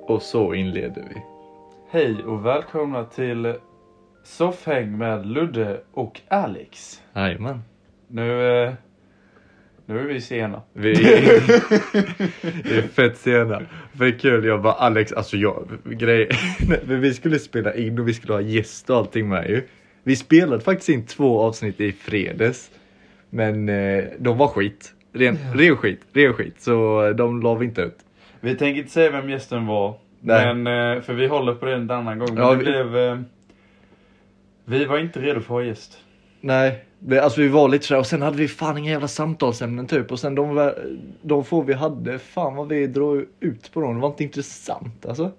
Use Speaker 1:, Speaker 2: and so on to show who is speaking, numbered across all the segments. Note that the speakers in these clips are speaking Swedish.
Speaker 1: Och så inleder vi.
Speaker 2: Hej och välkomna till Soffhäng med Ludde och Alex.
Speaker 1: Jajamän.
Speaker 2: Nu, eh, nu är vi sena.
Speaker 1: Vi vi är fett sena. För kul, jag bara Alex, alltså jag, grej. Nej, men vi skulle spela in och vi skulle ha gäst och allting med ju. Vi spelade faktiskt in två avsnitt i fredags. Men eh, de var skit. Ren, ren skit, ren skit. Så eh, de la vi inte ut.
Speaker 2: vi tänker inte säga vem gästen var.
Speaker 1: Nej.
Speaker 2: Men, eh, för vi håller på det en annan gång. Men
Speaker 1: Ja,
Speaker 2: det
Speaker 1: vi-
Speaker 2: blev... Eh, vi var inte redo för att ha gäst.
Speaker 1: Nej, det, alltså vi var lite sådär och sen hade vi fan inga jävla samtalsämnen typ och sen de, de få vi hade, fan vad vi drog ut på dem. Det var inte intressant alltså.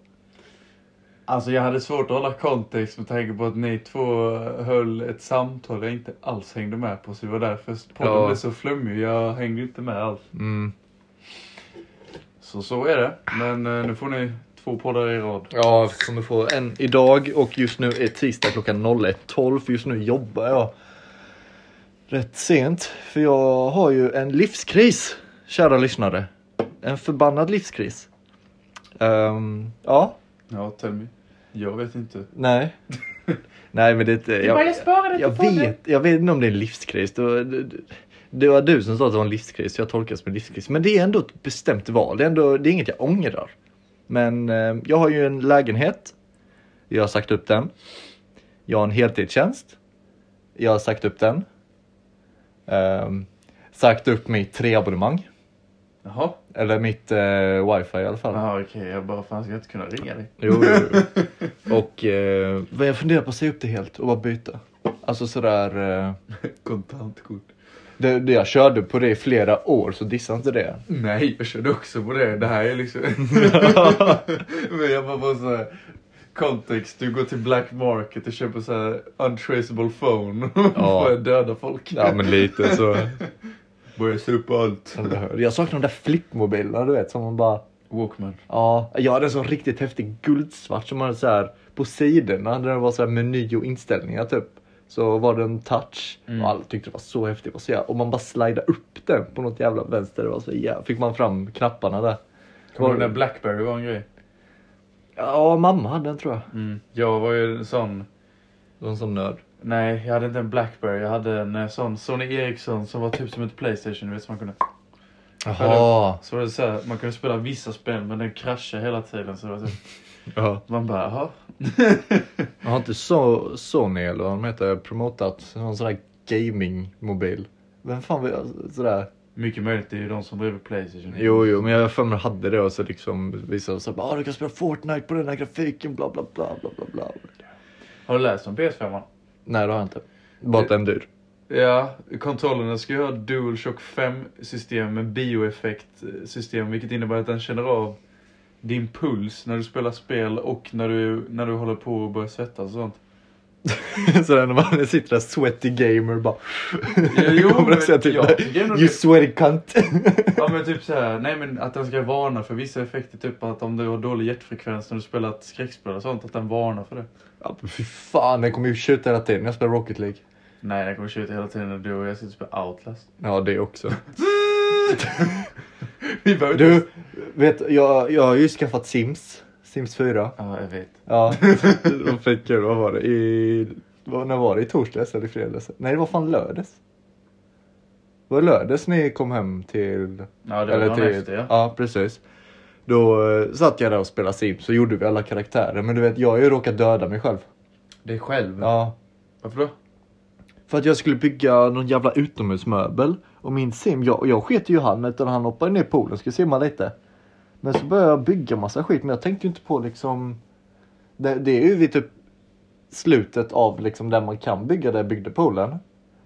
Speaker 2: Alltså jag hade svårt att hålla kontext med tanke på att ni två höll ett samtal jag inte alls hängde med på. Så det var därför podden
Speaker 1: Ja.
Speaker 2: blev så flummig. Jag hängde inte med alls.
Speaker 1: Mm.
Speaker 2: Så så är det. Men eh, nu får ni två poddar i rad.
Speaker 1: Ja, vi kommer få en idag och just nu är tisdag klockan 01.12 för just nu jobbar jag rätt sent. För jag har ju en livskris, kära lyssnare. En förbannad livskris. Ehm, ja,
Speaker 2: Ja, tell me. Jag vet inte.
Speaker 1: nej. nej men det är inte... jag-
Speaker 2: spara
Speaker 1: Jag vet, jag vet inte om det är en livskris. Det var, det, det var du som sa att det var en livskris, så jag tolkar det som en livskris. Men det är ändå ett bestämt val. Det är, ändå, det är inget jag ångrar. Men eh, jag har ju en lägenhet. Jag har sagt upp den. Jag har en heltidstjänst. Jag har sagt upp den. Ehm, sagt upp mitt treabonnemang.
Speaker 2: Jaha.
Speaker 1: Eller mitt eh, wifi i alla fall.
Speaker 2: Jaha, okej. Jag bara, fan ska jag inte kunna ringa dig?
Speaker 1: Jo, jo, jo. Och eh, vad jag funderar på att säga upp det helt och bara byta. Alltså sådär... Eh,
Speaker 2: Kontantkort.
Speaker 1: Det, det jag körde på det i flera år så dissa inte det.
Speaker 2: Nej, jag körde också på det. Det här är liksom... Men jag bara, bara så här... Kontext, du går till black market och köper så här untraceable phone
Speaker 1: Ja.
Speaker 2: för att döda folk.
Speaker 1: men lite så.
Speaker 2: Börjar supa allt.
Speaker 1: Jag saknar de där flippmobilerna du vet som man bara.
Speaker 2: Walkman.
Speaker 1: Ja, jag hade en sån riktigt häftig guldsvart som hade så här på sidorna där det var så här meny och inställningar typ. Så var det en touch
Speaker 2: Mm.
Speaker 1: och alla tyckte det var så häftigt. Och, så jävla, och man bara slidade upp den på något jävla vänster. Det var så jävla, fick man fram knapparna där. Var-
Speaker 2: Kommer du ihåg när Blackberry var en grej?
Speaker 1: Ja, mamma hade den tror jag.
Speaker 2: Jag var ju en sån...
Speaker 1: Det var en sån nörd.
Speaker 2: Nej, jag hade inte en Blackberry. Jag hade en eh, sån Sony Ericsson som var typ som ett Playstation. Du vet, som man kunde...
Speaker 1: Jaha.
Speaker 2: Så var det så här, man kunde spela vissa spel men den kraschade hela tiden. Så det var typ,
Speaker 1: Ja.
Speaker 2: man bara, jaha.
Speaker 1: Jag har inte so Sony eller vad de heter promotat någon sån där gamingmobil? Vem fan vill alltså, sådär?
Speaker 2: Mycket möjligt, det är ju de som driver Playstation.
Speaker 1: Jo, jo, men jag har för mig hade det och så liksom visade så bara ah, du kan spela Fortnite på den här grafiken bla bla bla bla bla bla.
Speaker 2: Har du läst om PS5? -an?
Speaker 1: Nej, det har jag inte. Bara att den är dyr.
Speaker 2: Ja, kontrollerna ska ju ha DualShock 5-system med bioeffekt-system vilket innebär att den känner av din puls när du spelar spel och när du, när du håller på att börja svettas och sånt.
Speaker 1: så där när man sitter där sweaty gamer bara.
Speaker 2: jo,
Speaker 1: kommer
Speaker 2: men
Speaker 1: att säga till
Speaker 2: jag
Speaker 1: dig.
Speaker 2: tycker ändå
Speaker 1: You
Speaker 2: det-
Speaker 1: sweaty cunt.
Speaker 2: Ja men typ så här, nej men att den ska varna för vissa effekter. Typ att om du har dålig hjärtfrekvens när du spelar ett skräckspel och sånt, att den varnar för det.
Speaker 1: ja, men fy fan, den kommer ju tjuta hela tiden när jag spelar Rocket League.
Speaker 2: Nej, den kommer tjuta hela tiden när du och jag sitter och spelar Outlast.
Speaker 1: Ja, det också.
Speaker 2: Vi behöver inte-
Speaker 1: Du, vet jag, jag har ju skaffat Sims. Sims 4.
Speaker 2: Ja, jag vet.
Speaker 1: Ja, och fett kul. Vad var det? I, vad, när var det? I torsdags eller i fredags? Nej, det var fan lördags. Var det lördags ni kom hem till...
Speaker 2: Ja, det var dagen
Speaker 1: till,
Speaker 2: efter, typ. ja.
Speaker 1: precis. Då eh, satt jag där och spelade Sims så gjorde vi alla karaktärer. Men du vet, jag har ju råkat döda mig själv.
Speaker 2: Mm. Det är själv.
Speaker 1: Ja.
Speaker 2: Varför då?
Speaker 1: För att jag skulle bygga någon jävla utomhusmöbel. Och min sim, jag, jag sket ju i han utan han hoppade ner i poolen skulle simma lite. Men så började jag bygga massa skit men jag tänkte ju inte på liksom. Det, det är ju vid typ slutet av liksom där man kan bygga där jag byggde poolen.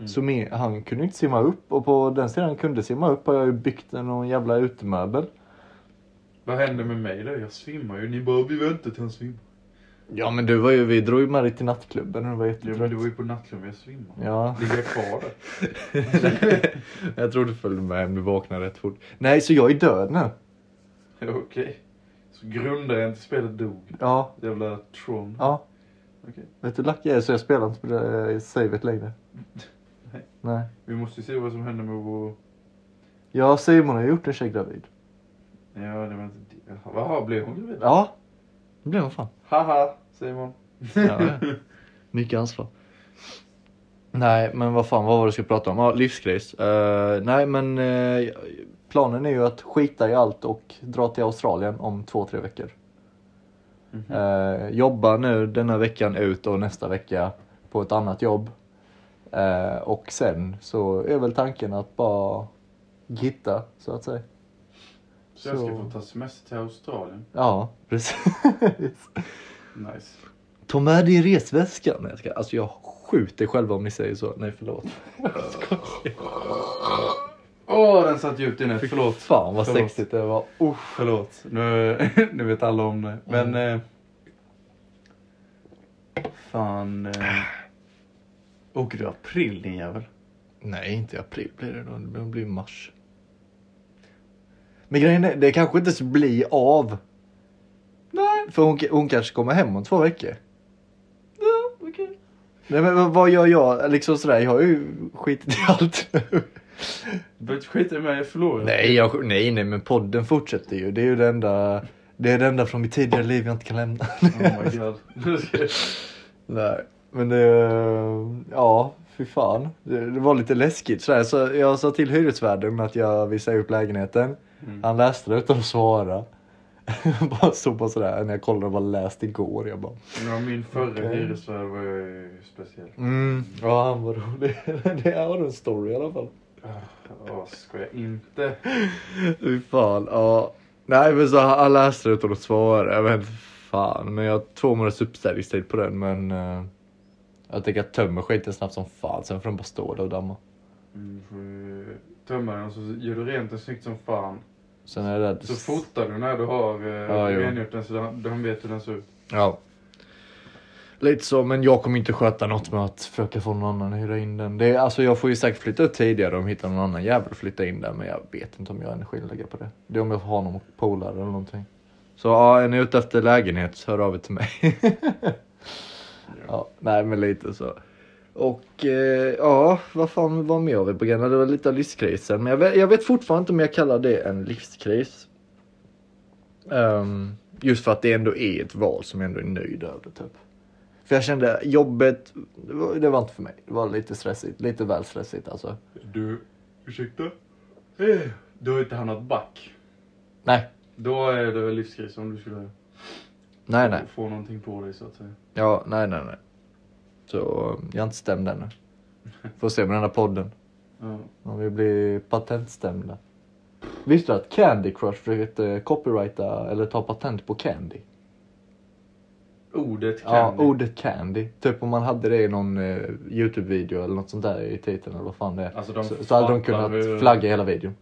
Speaker 1: Så min, han kunde ju inte simma upp och på den sidan han kunde simma upp har jag ju byggt en- någon jävla utemöbel.
Speaker 2: Vad hände med mig då? Jag svimmar ju. Ni bara, vi väntar till han svimmar.
Speaker 1: Ja men du var ju, vi drog ju med dig till nattklubben och det var
Speaker 2: Ja, men
Speaker 1: jättetrött.
Speaker 2: det var ju på nattklubben jag svimmade.
Speaker 1: Ja.
Speaker 2: Ligger jag kvar där?
Speaker 1: jag tror du följde med hem, du vaknade rätt fort. Nej så jag är död nu.
Speaker 2: Ja, Okej. Så grundade jag inte spelet dog.
Speaker 1: Ja,
Speaker 2: Jävla Tron.
Speaker 1: Ja.
Speaker 2: Okej.
Speaker 1: Vet du hur lucky jag är så jag spelar inte på det eh, savet längre.
Speaker 2: Nej.
Speaker 1: Nej.
Speaker 2: Vi måste ju se vad som händer med vår...
Speaker 1: Ja, Simon har gjort en tjej gravid.
Speaker 2: Ja, det var inte det. Jaha, blev hon gravid?
Speaker 1: Ja, Det blev vad fan.
Speaker 2: Haha, säger man.
Speaker 1: Ja, ja. Mycket ansvar. Nej, men vad fan, vad var det du skulle prata om? Ja, livskris. Eh, nej, men eh, planen är ju att skita i allt och dra till Australien om två, tre veckor. Eh, jobba nu denna veckan ut och nästa vecka på ett annat jobb. Eh, och sen så är väl tanken att bara gitta, så att säga.
Speaker 2: Så jag ska
Speaker 1: Så-
Speaker 2: få ta semester till Australien.
Speaker 1: Ja, precis.
Speaker 2: Nice.
Speaker 1: Ta med dig resväskan. Nej, jag ska, alltså jag skjuter själva om ni säger så. Nej, förlåt.
Speaker 2: Åh, den satt djupt inne. Förlåt.
Speaker 1: Fan vad
Speaker 2: Förlåt.
Speaker 1: sexigt det var. Usch.
Speaker 2: Förlåt, nu, nu vet alla om det. Men...
Speaker 1: Mm.
Speaker 2: Eh, fan... Eh, åker du i april din jävel?
Speaker 1: Nej, inte i april blir det då. Det blir mars. Men grejen är, det kanske inte så blir av.
Speaker 2: Nej,
Speaker 1: För hon, hon kanske kommer hem om två veckor.
Speaker 2: ja, okej.
Speaker 1: Nej men vad- vad gör jag? Liksom sådär, jag har ju skitit i allt nu.
Speaker 2: Du behöver inte skita i mig, jag förlorar.
Speaker 1: Nej, jag, nej, nej, men podden fortsätter ju. Det är ju det enda, det är det enda från mitt tidigare liv jag inte kan lämna.
Speaker 2: Oh my god. Nu ska jag-
Speaker 1: Nej, men det... Ja, fy fan. Det, det var lite läskigt sådär. Så jag sa till hyresvärden att jag vill säga upp lägenheten.
Speaker 2: Mm.
Speaker 1: Han läste det utan att svara. bara stod bara sådär när jag kollade vad läst igår. Jag bara...
Speaker 2: Ja, min förra
Speaker 1: Okej.
Speaker 2: hyresvärd var ju speciell.
Speaker 1: Mm, ja han var rolig. det här var en story i alla fall.
Speaker 2: Ja, skoja inte.
Speaker 1: Fy fan, ja. Nej men så han han läste det utan att svara. Jag vet inte fan. Men jag har två månaders uppställningstid på den men... eh, jag tänker jag tömmer skiten snabbt som fan. Sen får den bara stå där och damma.
Speaker 2: Mm, får ju tömma den och så gör du rent den snyggt som fan.
Speaker 1: Sen är det där-
Speaker 2: Så fotar du när du har eh,
Speaker 1: Ja, jo.
Speaker 2: rengjort den så den, den vet hur den ser ut.
Speaker 1: Ja. Lite så, men jag kommer inte sköta något med att försöka få någon annan att hyra in den. Det är, alltså jag får ju säkert flytta ut tidigare om jag hittar någon annan jävel att flytta in där. Men jag vet inte om jag har energi att lägga på det. Det är om jag har någon polare eller någonting. Så ja, är ni ute efter lägenhet, hör av er till mig. ja, nej men lite så. Och eh, ja, vad fan var med vi på grejerna? Det var lite av livskrisen. Men jag vet, jag vet fortfarande inte om jag kallar det en livskris. Ehm, just för att det ändå är ett val som jag ändå är nöjd över. Typ. För jag kände jobbet, det var, det var inte för mig. Det var lite stressigt, lite väl stressigt alltså.
Speaker 2: Du, ursäkta? Eh, Du har inte hamnat back.
Speaker 1: Nej,
Speaker 2: Då är det väl livskris om du skulle
Speaker 1: nej, nej.
Speaker 2: få någonting på dig så att säga.
Speaker 1: Ja, nej, nej, nej. Så um, jag är inte stämd ännu. Får se med den här podden.
Speaker 2: Ja.
Speaker 1: Om vi blir patentstämda. Visste du att Candy Crush försökte copyrighta eller ta patent på Candy?
Speaker 2: Ordet kan
Speaker 1: Ja,
Speaker 2: vi.
Speaker 1: ordet Candy. Typ om man hade det i någon eh, YouTube-video eller något sånt där i titeln eller vad fan det är.
Speaker 2: Alltså, de
Speaker 1: så, så hade de
Speaker 2: fattar
Speaker 1: kunnat
Speaker 2: hur-
Speaker 1: flagga hela videon.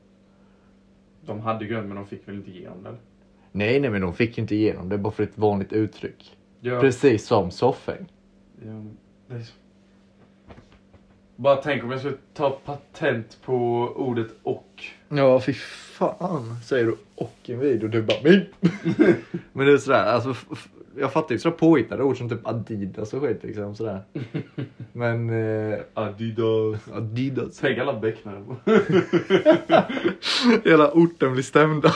Speaker 2: De hade grönt men de fick väl inte igenom den?
Speaker 1: Nej, nej, men de fick ju inte igenom det bara för ett vanligt uttryck.
Speaker 2: Ja.
Speaker 1: Precis som soffäng.
Speaker 2: Ja, men det är så. Bara tänk om jag skulle ta patent på ordet och.
Speaker 1: Ja, fy fan. Säger du och i en video. Du bara min. Men det är sådär, alltså. f- f- Jag fattar ju sådär påhittade ord som typ Adidas och skit liksom sådär. Men eh,
Speaker 2: Adidas.
Speaker 1: Adidas.
Speaker 2: Tänk alla becknare.
Speaker 1: Hela orten blir stämda.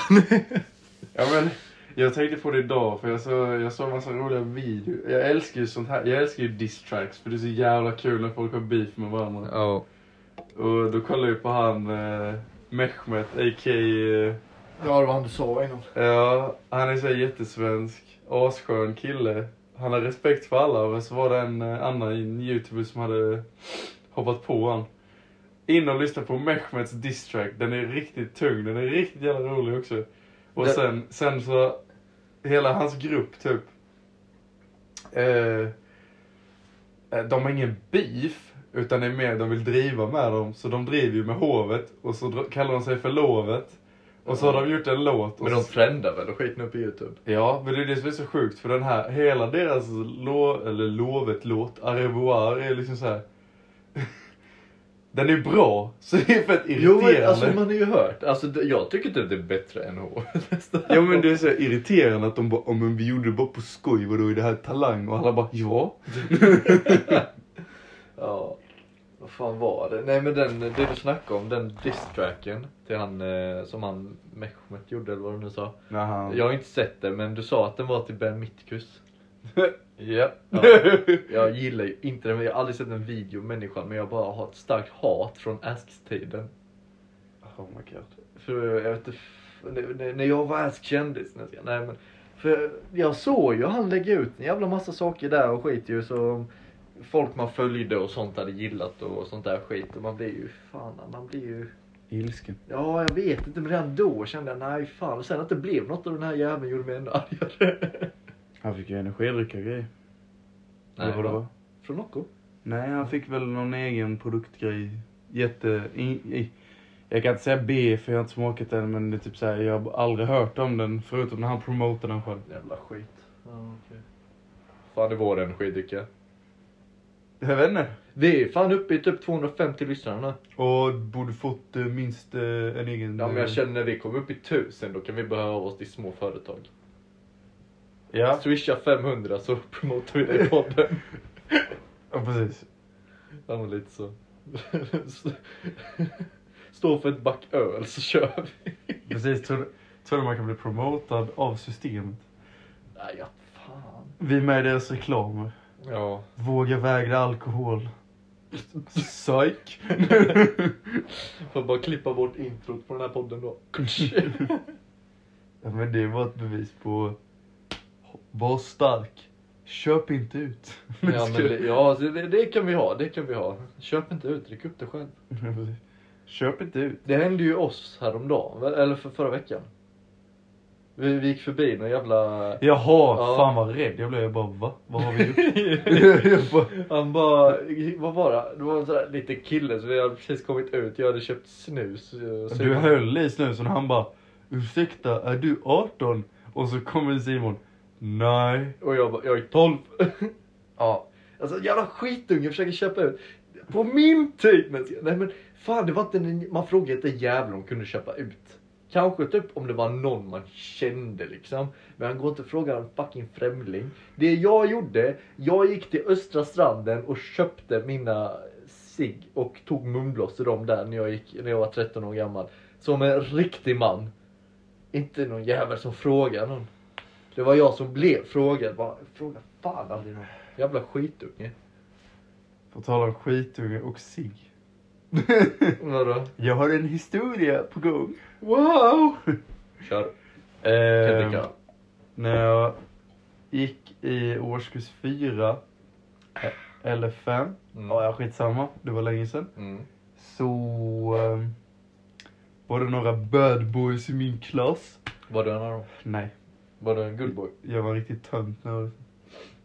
Speaker 2: ja, men, jag tänkte på det idag för jag såg, jag såg en massa roliga videor. Jag älskar ju sånt här. Jag älskar ju diss tracks för det är så jävla kul när folk har beef med varandra.
Speaker 1: Ja.
Speaker 2: Och då kollade jag på han eh, Mehmet, a.k. Eh,
Speaker 1: Ja, det var han du sa innan.
Speaker 2: ja, han är så här jättesvensk, asskön kille. Han har respekt för alla, men så var det en eh, annan youtuber som hade hoppat på han. In och lyssna på Mehmets distrack, den är riktigt tung, den är riktigt jävla rolig också. Och
Speaker 1: Det-
Speaker 2: sen, sen så, hela hans grupp typ. Eh, Eh, De har ingen beef, utan det är mer de vill driva med dem. Så de driver ju med hovet och så dra- kallar de sig för lovet. Och så har de gjort en låt. Och
Speaker 1: Men de
Speaker 2: så...
Speaker 1: trendar väl och skiten upp på Youtube?
Speaker 2: Ja, men det är det som är så sjukt för den här, hela deras lo... eller lovet-låt, Au revoir, är liksom så här. Den är bra, så det är fett irriterande.
Speaker 1: alltså, har ju hört. Alltså, det- jag tycker inte det är bättre än H.
Speaker 2: Ja men det är så irriterande att de bara, oh, men vi gjorde det bara på skoj, vadå är det här talang? Och alla bara, ja.
Speaker 1: Ja. Vad fan var det? Nej men den, det du snackade om, den distracken till han eh, som han Mehmet gjorde eller vad du nu sa.
Speaker 2: Jaha.
Speaker 1: Jag har inte sett det men du sa att den var till Ben Mitkus. ja. ja. Jag gillar ju inte den, men jag har aldrig sett en video om människan men jag bara har ett starkt hat från Asks-tiden.
Speaker 2: oh my god.
Speaker 1: För jag vet inte, f- när- när- när jag var Ask-kändis. när jag ska- Nej men. För jag såg ju han lägga ut en jävla massa saker där och skit ju så folk man följde och sånt hade gillat och sånt där skit och man blir ju fan, man blir ju
Speaker 2: Ilsken.
Speaker 1: Ja, jag vet inte, men redan då kände jag nej fan. Och sen att det blev något av den här jäveln gjorde mig ännu argare.
Speaker 2: Han fick ju energidricka grejer. Eller vad det var.
Speaker 1: Från Nocco?
Speaker 2: Nej, han fick väl någon egen produktgrej. Jätte... I, i, jag kan inte säga B för jag har inte smakat den men det är typ så här, jag har aldrig hört om den förutom när han promotar den själv.
Speaker 1: Jävla skit. Ja, okej. Fan, det var den skitdricka.
Speaker 2: Jag vet inte.
Speaker 1: Vi är fan uppe i typ 250 lyssnare nu.
Speaker 2: Och borde fått eh, minst eh, en egen... eh,
Speaker 1: Ja, men jag känner när vi kommer upp i 1000 då kan vi behöva oss till små företag.
Speaker 2: Ja,
Speaker 1: Swisha 500 så promotar vi det i podden.
Speaker 2: ja precis.
Speaker 1: Ja, men lite så. Stå för ett back öl så kör vi.
Speaker 2: Precis, tror, tror du man kan bli promotad av systemet?
Speaker 1: Nej, ja, fan.
Speaker 2: Vi är med i deras reklamer.
Speaker 1: Ja.
Speaker 2: Våga vägra alkohol. Psyk.
Speaker 1: Får bara klippa bort introt på den här podden då.
Speaker 2: ja, men det var ett bevis på... Var stark. Köp inte ut.
Speaker 1: ja, men det, ja så det, det kan vi ha, det kan vi ha. Köp inte ut, drick upp det själv.
Speaker 2: Köp inte ut.
Speaker 1: Det hände ju oss häromdagen, väl- eller för, förra veckan. Vi, vi gick förbi någon jävla...
Speaker 2: Jaha,
Speaker 1: Ja.
Speaker 2: fan vad rädd jag blev. Jag bara va? Vad har vi gjort? Jag bara-
Speaker 1: Han bara, vad var det? Det var en sån där liten kille så vi hade precis kommit ut, jag hade köpt snus. eh, Så
Speaker 2: du höll i snusen och han bara ursäkta är du 18? Och så kommer Simon. Nej.
Speaker 1: Och jag bara, jag är 12. ja. Alltså jävla skitunge försöker köpa ut. På min tid! Men, nej men fan det var inte en, man frågade inte en jävel om de kunde köpa ut. Kanske typ om det var någon man kände liksom. Men han går inte och frågar en fucking främling. Det jag gjorde, jag gick till Östra stranden och köpte mina sig och tog munblås till dem där när jag, gick, när jag var 13 år gammal. Som en riktig man. Inte någon jävel som frågar någon. Det var jag som blev frågad. Bara, fråga fan aldrig någon. Jävla skitunge.
Speaker 2: På tal om skitunge och sig.
Speaker 1: Vadå?
Speaker 2: jag har en historia på gång. Wow!
Speaker 1: Kör. Kan
Speaker 2: Eh,
Speaker 1: dricka.
Speaker 2: när jag gick i årskurs fyra eh, eller fem.
Speaker 1: Mm.
Speaker 2: Ja, ja, skitsamma. Det var länge sedan.
Speaker 1: Mm.
Speaker 2: Så eh, var det några bad boys i min klass.
Speaker 1: Var du en av dem?
Speaker 2: Nej,
Speaker 1: Var du en good boy?
Speaker 2: jag var riktigt tönt när jag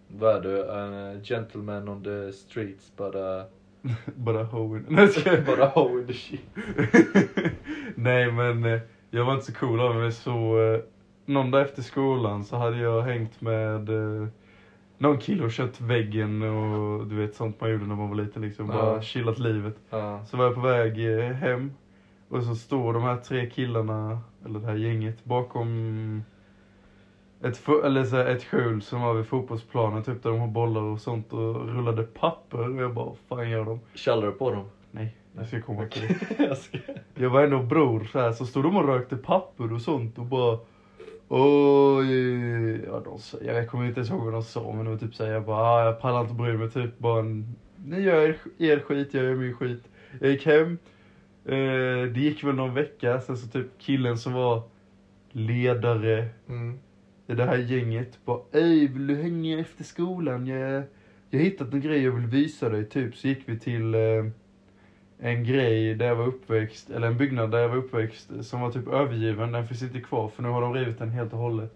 Speaker 1: Var du en eh, gentleman on the streets but uh,
Speaker 2: bara hoen. Nej, jag skojar.
Speaker 1: bara hoeing the shit?
Speaker 2: Nej men eh, jag var inte så cool av mig så eh, någon dag efter skolan så hade jag hängt med eh, någon kille och kört väggen och du vet sånt man gjorde när man var liten liksom.
Speaker 1: Ja.
Speaker 2: Bara chillat livet.
Speaker 1: Ja.
Speaker 2: Så var jag på väg eh, hem och så står de här tre killarna, eller det här gänget, bakom ett, fu- eller så här, ett skjul som var vid fotbollsplanen typ där de har bollar och sånt och rullade papper och jag bara, vad fan gör de?
Speaker 1: Tjallar du på dem?
Speaker 2: Nej, jag ska komma till det.
Speaker 1: Jag ska...
Speaker 2: Jag var ändå bror så här, så stod de och rökte papper och sånt och bara Oj, ja, de, sa- jag kommer inte ens ihåg vad de sa men det var typ såhär, jag bara, ah, jag pallar inte bry mig typ bara en, Ni gör er, er skit, jag gör min skit. Jag gick hem, eh, det gick väl någon vecka sen så typ killen som var ledare
Speaker 1: Mm.
Speaker 2: i det här gänget bara Ey, vill du hänga efter skolan? Jag, jag har hittat en grej jag vill visa dig. Typ så gick vi till eh, en grej där jag var uppväxt, eller en byggnad där jag var uppväxt som var typ övergiven. Den finns inte kvar för nu har de rivit den helt och hållet.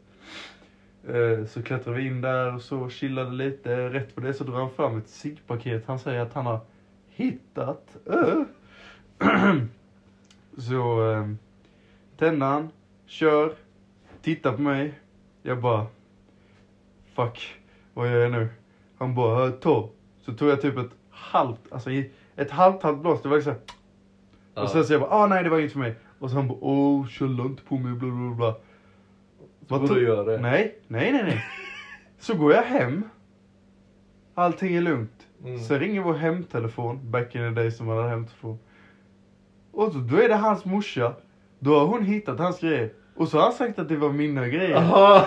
Speaker 2: Eh, så klättrade vi in där och så chillade lite. Rätt på det så drar han fram ett ciggpaket. Han säger att han har hittat. Eh. så eh, tänder han, kör, tittar på mig. Jag bara, fuck, vad gör jag nu? Han bara, "Eh, ta. Så tog jag typ ett halvt, alltså i- ett halvt, halvt blås. Det var liksom,
Speaker 1: Ja.
Speaker 2: och sen så jag bara, ah nej det var inget för mig. Och så han bara, åh kolla inte på mig, bla bla bla.
Speaker 1: Så går
Speaker 2: tog-
Speaker 1: du och gör det?
Speaker 2: Nej, nej nej nej. så går jag hem. Allting är lugnt.
Speaker 1: Mm.
Speaker 2: Sen ringer vår hemtelefon, back in the day som man hade hemtelefon. Och så, då är det hans morsa. Då har hon hittat hans grejer. Och så har han sagt att det var mina grejer.
Speaker 1: Aha.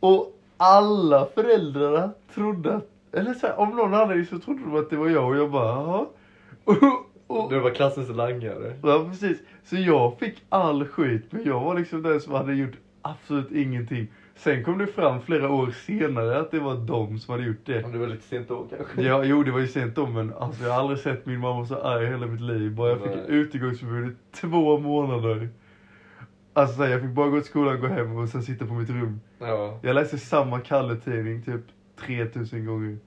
Speaker 2: Och alla föräldrarna trodde att, eller så här, om någon annan så trodde de att det var jag och jag bara jaha. Och, och,
Speaker 1: Du var klassens langare.
Speaker 2: ja, precis. Så jag fick all skit men jag var liksom den som hade gjort absolut ingenting. Sen kom det fram flera år senare att det var de som hade gjort det.
Speaker 1: Om du var lite sent då kanske.
Speaker 2: Ja, jo det var ju sent då men alltså, jag har aldrig sett min mamma så arg i hela mitt liv. Bara jag fick
Speaker 1: Nej.
Speaker 2: utegångsförbud i två månader. Alltså så här, jag fick bara gå till skolan, gå hem och sen sitta på mitt rum.
Speaker 1: Ja.
Speaker 2: Jag läste samma Kalle-tidning typ 3000 gånger.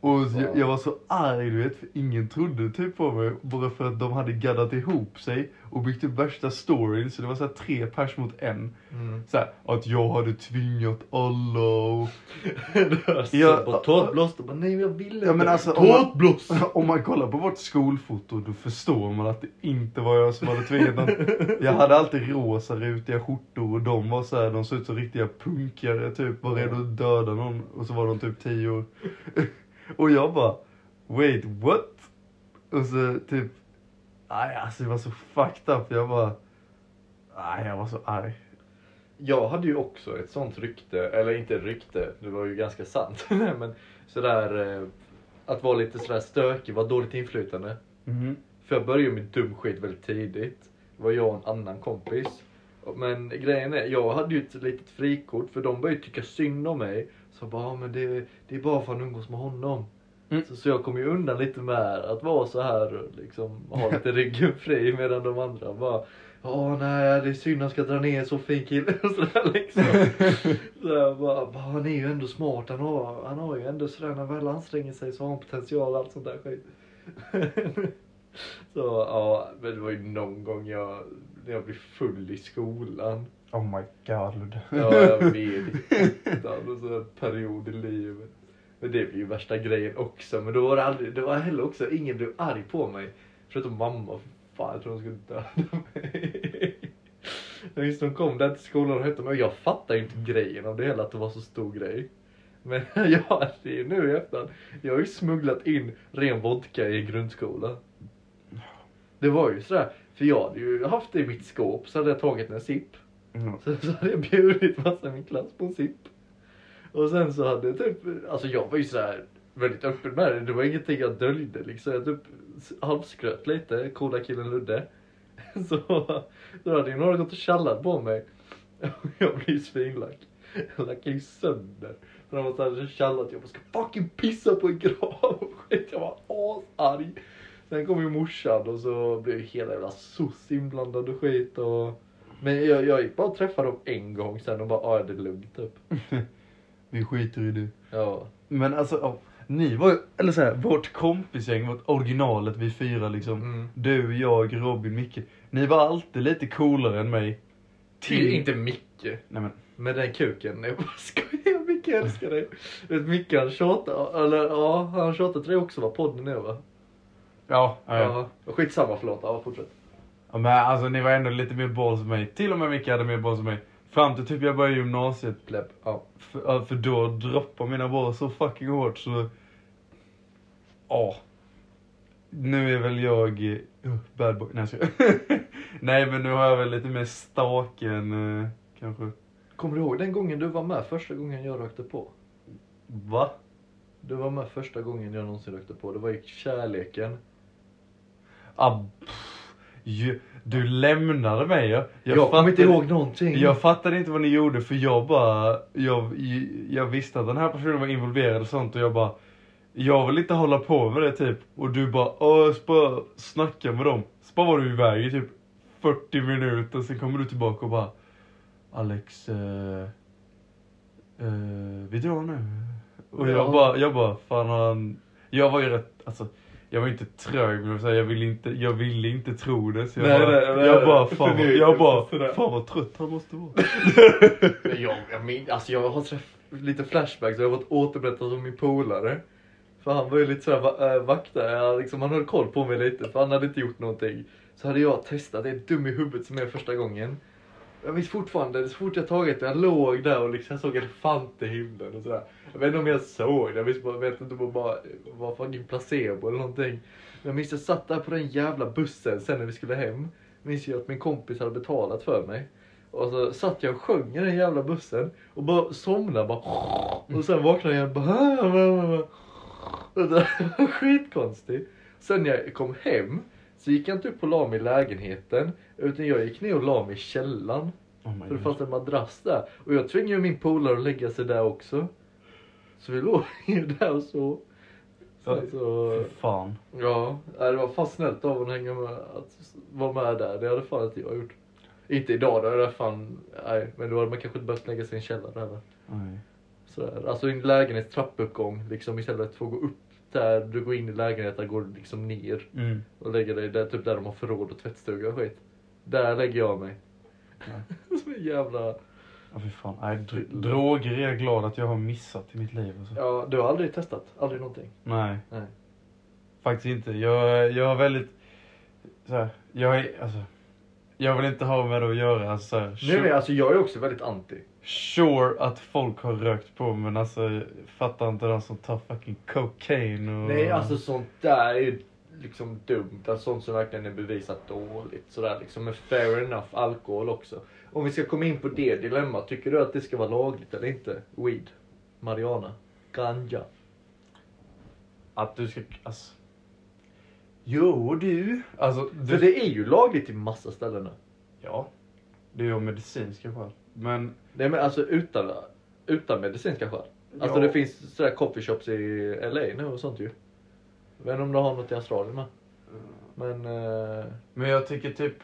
Speaker 2: Och jag, jag var så arg du vet, för ingen trodde typ på mig. Bara för att de hade gaddat ihop sig och byggt upp värsta storyn. Så det var så här tre pers mot en.
Speaker 1: Mm.
Speaker 2: Så här, att jag hade tvingat alla och...
Speaker 1: Jag bara tårtblåst och bara nej men jag ville inte.
Speaker 2: Ja, men alltså, om man-
Speaker 1: tårtblåst!
Speaker 2: Om man kollar på vårt skolfoto då förstår man att det inte var jag som hade tvingat dem. Jag hade alltid rosa rutiga skjortor och de var så här, de såg ut som riktiga punkare typ, var redo att döda någon och så var de typ 10 år. Och jag bara, wait what? Och så typ, nej alltså det var så fucked up, jag bara, nej jag var så arg.
Speaker 1: Jag hade ju också ett sånt rykte, eller inte ett rykte, det var ju ganska sant. Nej, men sådär, eh, att vara lite sådär stökig, vara dåligt inflytande.
Speaker 2: Mhm.
Speaker 1: För jag började ju med dum skit väldigt tidigt. Det var jag och en annan kompis. Men grejen är, jag hade ju ett litet frikort för de började ju tycka synd om mig. Så jag bara, "Ja, men det, det är bara för att han umgås med honom.
Speaker 2: Mm.
Speaker 1: Så, så jag kom ju undan lite med att vara så här, liksom ha lite ryggen fri medan de andra bara Åh nej, det är synd han ska dra ner en så fin kille och sådär liksom. så jag bara, bara, han är ju ändå smart, han har, han har ju ändå sådär, när väl anstränger sig så har han potential och allt sånt där skit. så ja, men det var ju någon gång jag, när jag blev full i skolan.
Speaker 2: Oh my god.
Speaker 1: Ja, jag vet. En sån här period i livet. Men det blev ju värsta grejen också. Men då var det aldrig, det var heller också, ingen blev arg på mig. Förutom mamma. Fan, jag tror hon skulle döda mig. Jag visste hon kom där till skolan och hette mig. Jag fattar ju inte grejen av det hela, att det var så stor grej. Men jag, det är ju nu i efterhand. Jag har ju smugglat in ren vodka i grundskolan. Det var ju sådär, för jag hade ju haft det i mitt skåp så hade jag tagit en sipp.
Speaker 2: Mm.
Speaker 1: Sen så hade jag bjudit massa i min klass på en sipp. Och sen så hade jag typ, alltså jag var ju så här väldigt öppen med det. Det var ingenting jag döljde liksom. Jag typ halvskröt lite, coola killen Ludde. Så då hade ju några gått och tjallat på mig. Och jag blev ju svinlack. Jag lackade ju sönder. Så de hade tjallat, jag bara ska fucking pissa på en grav och skit. Jag var asarg. Sen kom ju morsan och så blev ju hela jävla soc inblandad och skit och men jag, jag gick bara och träffade dem en gång sen och bara, ja det är lugnt typ.
Speaker 2: Vi skiter i det.
Speaker 1: Ja.
Speaker 2: Men alltså, ja, ni var ju- eller så här, vårt kompisgäng, vårt originalet vi fyra liksom.
Speaker 1: Mm.
Speaker 2: Du, jag, Robin, Micke. Ni var alltid lite coolare än mig.
Speaker 1: Till inte Micke.
Speaker 2: Nej men,
Speaker 1: Med den kuken. Jag bara skojar, Micke jag älskar dig. Du vet Micke han tjatar, eller ja, han tjatar till dig också vad podden är va?
Speaker 2: ja, ja. ja.
Speaker 1: ja. Skitsamma förlåt, ja fortsätt.
Speaker 2: ja men alltså ni var ändå lite mer boll som mig. Till och med Micke hade mer boll som mig. Fram till typ jag började gymnasiet.
Speaker 1: Plepp. Ja.
Speaker 2: För, ja, för då droppade mina bollar så fucking hårt så... Ja. Nu är väl jag uh, bad boy. Nej, jag skojar. Nej men nu har jag väl lite mer staken eh, kanske.
Speaker 1: Kommer du ihåg den gången du var med första gången jag rökte på?
Speaker 2: Va?
Speaker 1: Du var med första gången jag någonsin rökte på. Det var i kärleken.
Speaker 2: Ah, pff, ju, du lämnade mig. Jag,
Speaker 1: Jag, kommer inte ihåg någonting.
Speaker 2: Jag fattade inte vad ni gjorde för jag bara, jag, jag visste att den här personen var involverad och sånt och jag bara, jag vill inte hålla på med det typ. Och du bara, "Åh, jag ska bara snacka med dem. Så bara var du iväg i typ 40 minuter, sen kommer du tillbaka och bara, Alex, eh, eh, vi drar nu. Och jag
Speaker 1: Ja.
Speaker 2: bara, jag bara, fan han, jag var ju rätt, alltså jag var inte trög men jag vill säga, jag ville inte, jag ville inte tro det. Så jag
Speaker 1: Nej,
Speaker 2: bara,
Speaker 1: nej, nej,
Speaker 2: jag bara,
Speaker 1: nej.
Speaker 2: fan, vad-
Speaker 1: Förnekelse,
Speaker 2: jag bara,
Speaker 1: sådär.
Speaker 2: fan vad trött han måste vara.
Speaker 1: Men jag, jag min, alltså jag har träff, lite flashbacks och jag har fått återberättat om min polare. För han var ju lite såhär va- äh, vaktare, han liksom, han höll koll på mig lite för han hade inte gjort någonting. Så hade jag testat, det är dum i huvudet som är första gången. Jag minns fortfarande, så fort jag tagit den, jag låg där och liksom såg elefanter i himlen och sådär. Jag vet inte om jag såg det, jag minns bara, jag vet inte om det bara var fucking placebo eller någonting. Men jag minns jag satt där på den jävla bussen sen när vi skulle hem. Minns jag att min kompis hade betalat för mig. Och så satt jag och sjöng i den jävla bussen och bara somnade bara. Och sen vaknade jag bara. Och det var skitkonstigt. Sen när jag kom hem så gick jag inte upp och la mig i lägenheten utan jag gick ner och la mig i källaren.
Speaker 3: Oh my
Speaker 2: Mm.
Speaker 1: För det
Speaker 3: God.
Speaker 1: fanns en madrass där. Och jag tvingade ju min polare att lägga sig där också. Så vi låg ju där och så. Sen så
Speaker 2: Fy fan.
Speaker 1: ja, nej, det var fan snällt av honom att hänga med, att vara med där. Det hade fan inte jag gjort. Inte idag, då hade jag fan, nej, men då hade man kanske inte behövt lägga sig i en källare heller.
Speaker 2: Nej.
Speaker 1: Sådär. Alltså i en lägenhets trappuppgång liksom istället för att gå upp där du går in i lägenheten går du liksom ner
Speaker 2: Mm.
Speaker 1: och lägger dig där, typ där de har förråd och tvättstuga och skit. Där lägger jag mig. Som en jävla...
Speaker 2: Ja, fy fan. Nej, dr- droger är jag glad att jag har missat i mitt liv. Alltså.
Speaker 1: Ja, du har aldrig testat? Aldrig någonting?
Speaker 2: Nej.
Speaker 1: Nej.
Speaker 2: Faktiskt inte. Jag, jag är väldigt... Så här, jag är... Alltså, jag vill inte ha med det att göra. Alltså, så här,
Speaker 1: Nu är jag, alltså jag är också väldigt anti.
Speaker 2: Sure att folk har rökt på men alltså jag fattar inte de som tar fucking cocaine och...
Speaker 1: Nej, alltså sånt där är ju liksom dumt. Alltså, sånt som verkligen är bevisat dåligt. Sådär liksom. Men fair enough, alkohol också. Om vi ska komma in på det dilemmat. Tycker du att det ska vara lagligt eller inte? Weed? Mariana? Ganja?
Speaker 2: Att du ska... Alltså... Jo du! Alltså
Speaker 1: För
Speaker 2: du...
Speaker 1: det är ju lagligt i massa ställen nu.
Speaker 2: Ja. Det är ju av medicinska skäl. Men...
Speaker 1: Nej men alltså utan, utan medicinska skäl. Alltså
Speaker 2: Ja.
Speaker 1: det finns sådär coffeeshops i LA nu och sånt ju. Jag vet inte om du har något i Australien med. Men... eh,
Speaker 2: Men jag tycker typ...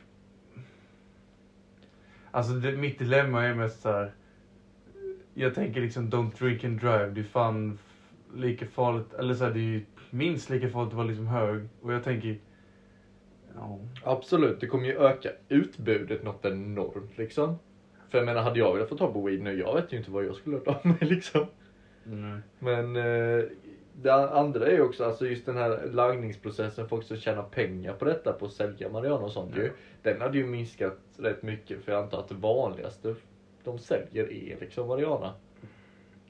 Speaker 2: Alltså det, mitt dilemma är mest så här. Jag tänker liksom don't drink and drive. Det är fan f- lika farligt. Eller så här, det är ju minst lika farligt att vara liksom hög. Och jag tänker... Ja.
Speaker 1: Absolut, det kommer ju öka utbudet något enormt liksom. För jag menar, hade jag velat få ta på weed nu, jag vet ju inte vad jag skulle ha av mig liksom.
Speaker 2: Nej.
Speaker 1: Men eh, det andra är ju också, alltså just den här langningsprocessen, folk som tjänar pengar på detta, på att sälja marijuana och sånt ju. Den hade ju minskat rätt mycket, för jag antar att det vanligaste de säljer är liksom marijuana.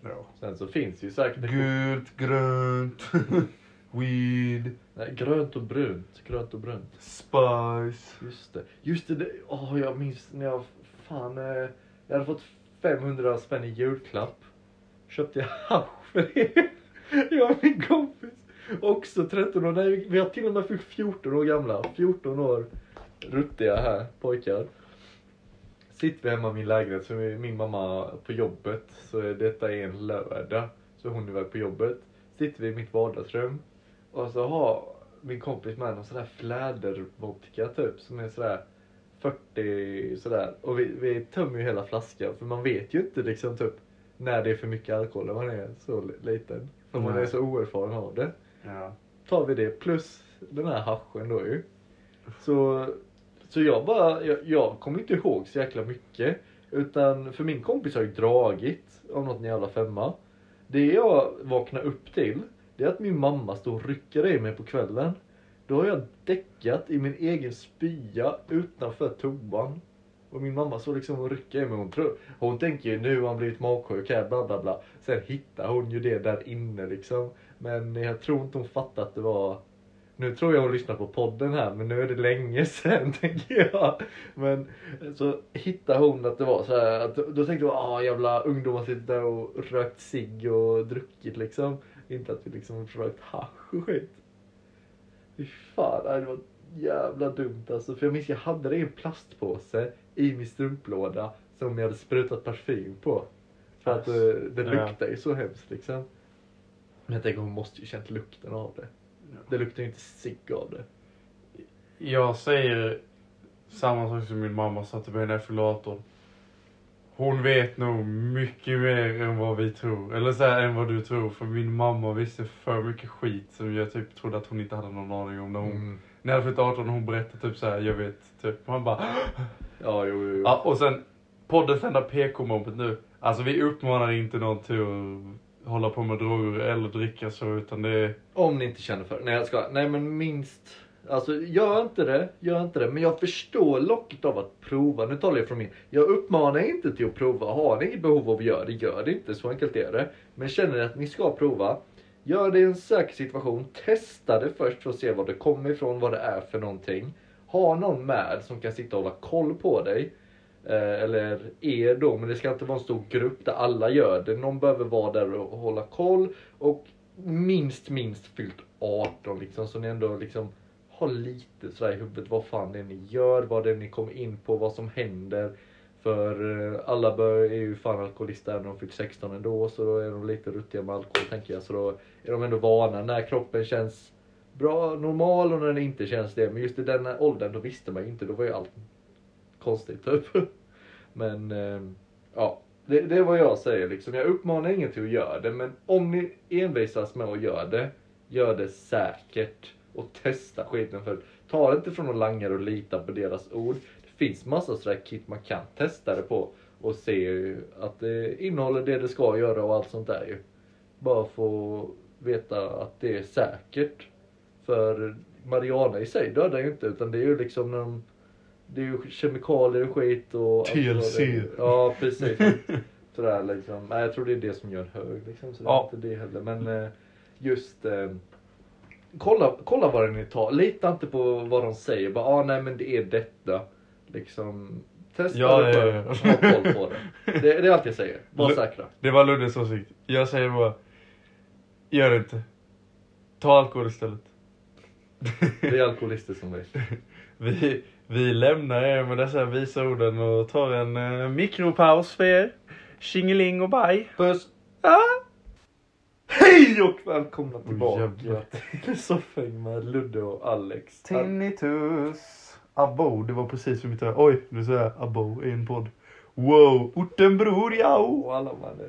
Speaker 2: Ja.
Speaker 1: Sen så finns det ju säkert...
Speaker 2: Gult, grönt, weed,
Speaker 1: Nej, grönt och brunt, grönt och brunt.
Speaker 2: spice.
Speaker 1: Just det. Just det, det. åh jag minns när jag fan, eh, jag hade fått 500 spänn i julklapp. Köpte jag hasch för det. Jag och min kompis. Också 13 år, nej vi har till och med fyllt 14 år gamla. 14 år ruttiga här pojkar. Sitter vi hemma i min lägenhet, så är min mamma på jobbet. Så är- detta är en lördag. Så hon är väl på jobbet. Sitter vi i mitt vardagsrum. Och så har min kompis med någon sån där flädervodka typ som är sådär 40 sådär. Och vi, vi tömmer ju hela flaskan för man vet ju inte liksom typ när det är för mycket alkohol när man är så li- liten. För man
Speaker 2: Nej.
Speaker 1: är så oerfaren av det.
Speaker 2: Ja.
Speaker 1: Tar vi det plus den här haschen då ju. Så, så jag bara, jag, jag kommer inte ihåg så jäkla mycket. Utan för min kompis har ju dragit av något jävla femma. Det jag vaknar upp till, det är att min mamma står och rycker i mig på kvällen. Då har jag däckat i min egen spya utanför toan. Och min mamma står liksom och rycker i mig. Hon, tror, hon tänker ju nu har han blivit magsjuk här, bla bla bla. Sen hittar hon ju det där inne liksom. Men jag tror inte hon fattar att det var... Nu tror jag hon lyssnar på podden här, men nu är det länge sen tänker jag. Men så hittar hon att det var så här, att då tänkte hon ah jävla ungdomar sitter där och rökt cigg och druckit liksom. Inte att vi liksom rökt hasch och skit. Fy fan, nej, det var jävla dumt alltså. För jag minns jag hade det i en plastpåse i min strumplåda som jag hade sprutat parfym på. För att eh, det
Speaker 2: Ja.
Speaker 1: luktar ju så hemskt liksom. Men jag tänker hon måste ju känt lukten av det. Det luktar ju inte cigg av det.
Speaker 2: Jag säger samma sak som min mamma sa till mig när jag fyllde 18. Hon vet nog mycket mer än vad vi tror. Eller så här, än vad du tror. För min mamma visste för mycket skit som jag typ trodde att hon inte hade någon aning om. När, hon,
Speaker 1: Mm.
Speaker 2: när jag fyllde 18 och hon berättade typ så här, jag vet. Typ. Man bara...
Speaker 1: Ja, jo, jo. jo.
Speaker 2: Ja, och sen poddens enda PK-moment nu. Alltså vi uppmanar inte någon till att hålla på med droger eller dricka så utan det är...
Speaker 1: Om ni inte känner för det. Nej jag ska. Nej men minst. Alltså gör inte det, gör inte det. Men jag förstår locket av att prova. Nu talar jag från min. Jag uppmanar inte till att prova. Har ni inget behov av att göra det, gör det inte. Så enkelt är det. Men känner ni att ni ska prova, gör det i en säker situation. Testa det först för att se var det kommer ifrån, vad det är för någonting. Ha någon med som kan sitta och hålla koll på dig. Eh, Eller er då, men det ska inte vara en stor grupp där alla gör det. Någon behöver vara där och hålla koll. Och minst, minst fyllt 18 liksom. Så ni ändå liksom har lite sådär i huvudet vad fan det är ni gör, vad det är ni kommer in på, vad som händer. För eh, alla bör, är ju fan alkoholister även om de fyllt 16 ändå. Så då är de lite ruttiga med alkohol tänker jag. Så då är de ändå vana när kroppen känns bra, normal och när den inte känns det. Men just i den här åldern då visste man ju inte. Då var ju allt konstigt typ. Men eh, ja, det, det är vad jag säger liksom. Jag uppmanar ingen till att göra det, men om ni envisas med att göra det, gör det säkert och testa skiten. För ta det inte från någon langare och lita på deras ord. Det finns massa sådär kit man kan testa det på och se att det innehåller det det ska göra och allt sånt där ju. Bara få veta att det är säkert. För Mariana i sig dödar ju inte utan det är ju liksom när de det är ju kemikalier och skit och...
Speaker 2: TLC.
Speaker 1: Ja, precis. Sådär liksom. Nej, jag tror det är det som gör en hög liksom. Så
Speaker 2: Ja.
Speaker 1: det är inte det heller. Men eh, just... Eh, kolla, kolla vad den är tar. Lita inte på vad de säger. Bara, ah, nej men det är detta. Liksom. Testa
Speaker 2: Ja,
Speaker 1: det
Speaker 2: ja,
Speaker 1: bara.
Speaker 2: ja.
Speaker 1: Ha koll på det. det. Det är allt jag säger. Var
Speaker 2: Lu-
Speaker 1: säkra.
Speaker 2: Det var Luddes åsikt. Jag säger bara, gör det inte. Ta alkohol istället.
Speaker 1: Det är alkoholister som vet.
Speaker 2: Vi, vi lämnar er med dessa visa orden och tar en eh, mikropaus för er. Tjingeling och bye.
Speaker 1: Puss! Hej och välkomna tillbaka
Speaker 2: jävlar.
Speaker 1: till Soffhäng med Ludde och Alex.
Speaker 2: Tinnitus. Abo, det var precis som mitt öra. Oj, nu säger jag abo i en podd. Wow, ortenbror ja.
Speaker 1: Och alla mannen.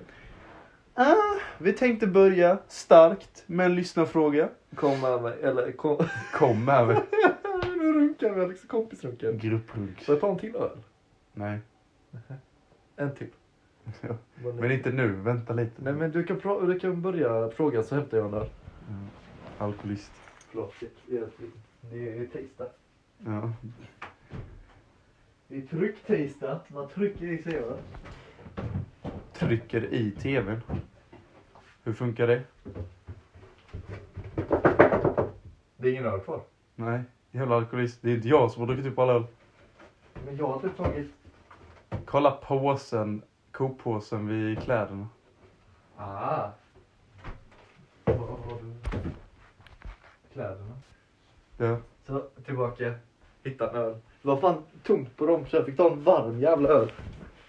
Speaker 2: Ah, vi tänkte börja starkt med en lyssnarfråga.
Speaker 1: Kom med mig, eller kom...
Speaker 2: Kom här.
Speaker 1: nu runkar vi Alex kompisrunken.
Speaker 2: Grupprugg.
Speaker 1: Får jag ta en till öl?
Speaker 2: Nej,
Speaker 1: En till.
Speaker 2: Ja,
Speaker 1: Men,
Speaker 2: men inte nu. Vänta lite.
Speaker 1: Nej men du kan, pra- du kan börja fråga så hämtar jag en öl.
Speaker 2: Alkoholist.
Speaker 1: Förlåt, det är- det är tisdag.
Speaker 2: Ja.
Speaker 1: Det är trycktisdag. Man trycker i sig öl.
Speaker 2: Trycker i tvn. Hur funkar det?
Speaker 1: Det är ingen öl kvar.
Speaker 2: Nej, jävla alkoholist. Det är inte jag som har druckit upp alla öl.
Speaker 1: Men jag har typ tagit...
Speaker 2: Kolla påsen, kopåsen vid kläderna.
Speaker 1: Ah! Vad har du? Kläderna.
Speaker 2: Ja.
Speaker 1: Så, tillbaka. Hitta en öl. Det var fan tomt på dem så jag fick ta en varm jävla öl.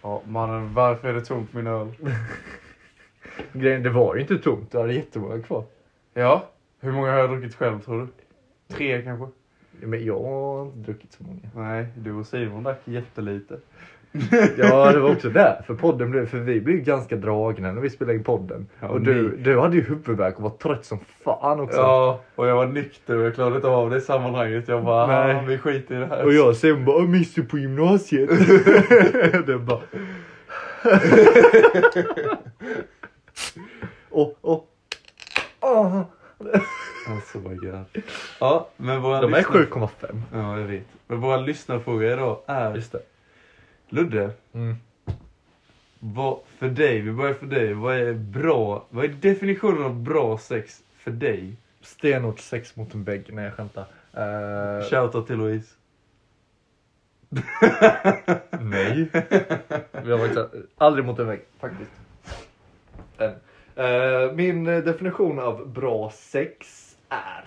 Speaker 2: Ja, mannen, varför är det tomt på min öl?
Speaker 1: Grejen, det var ju inte tomt. Du hade jättemånga kvar.
Speaker 2: Ja, hur många har jag druckit själv tror du? Tre kanske?
Speaker 1: Men jag har inte druckit så många.
Speaker 2: Nej, du och Simon drack jättelite.
Speaker 1: Ja, det var också där. För podden blev, för vi blev ju ganska dragna när vi spelade in podden.
Speaker 2: Ja,
Speaker 1: och du, du hade ju huvudvärk och var trött som fan också.
Speaker 2: Ja, och jag var nykter och jag klarade inte av det i sammanhanget. Jag bara,
Speaker 1: Nej.
Speaker 2: "Ah, vi skiter i det här.
Speaker 1: Och jag sen bara, minns du på gymnasiet? det bara... Åh, åh. Åh.
Speaker 2: Alltså my god. Ja, men våra
Speaker 1: De är
Speaker 2: lyssnar-
Speaker 1: 7,5.
Speaker 2: Ja, jag vet. Men våra lyssnarfråga idag är...
Speaker 1: Just det.
Speaker 2: Ludde,
Speaker 1: Mm.
Speaker 2: vad för dig, vi börjar för dig, vad är bra, vad är definitionen av bra sex för dig?
Speaker 1: Stenhårt sex mot en vägg. Nej, jag skämtar. Eh,
Speaker 2: Shoutout till Louise.
Speaker 1: Nej. Vi har varit aldrig mot en vägg faktiskt. Än. Eh, min definition av bra sex är.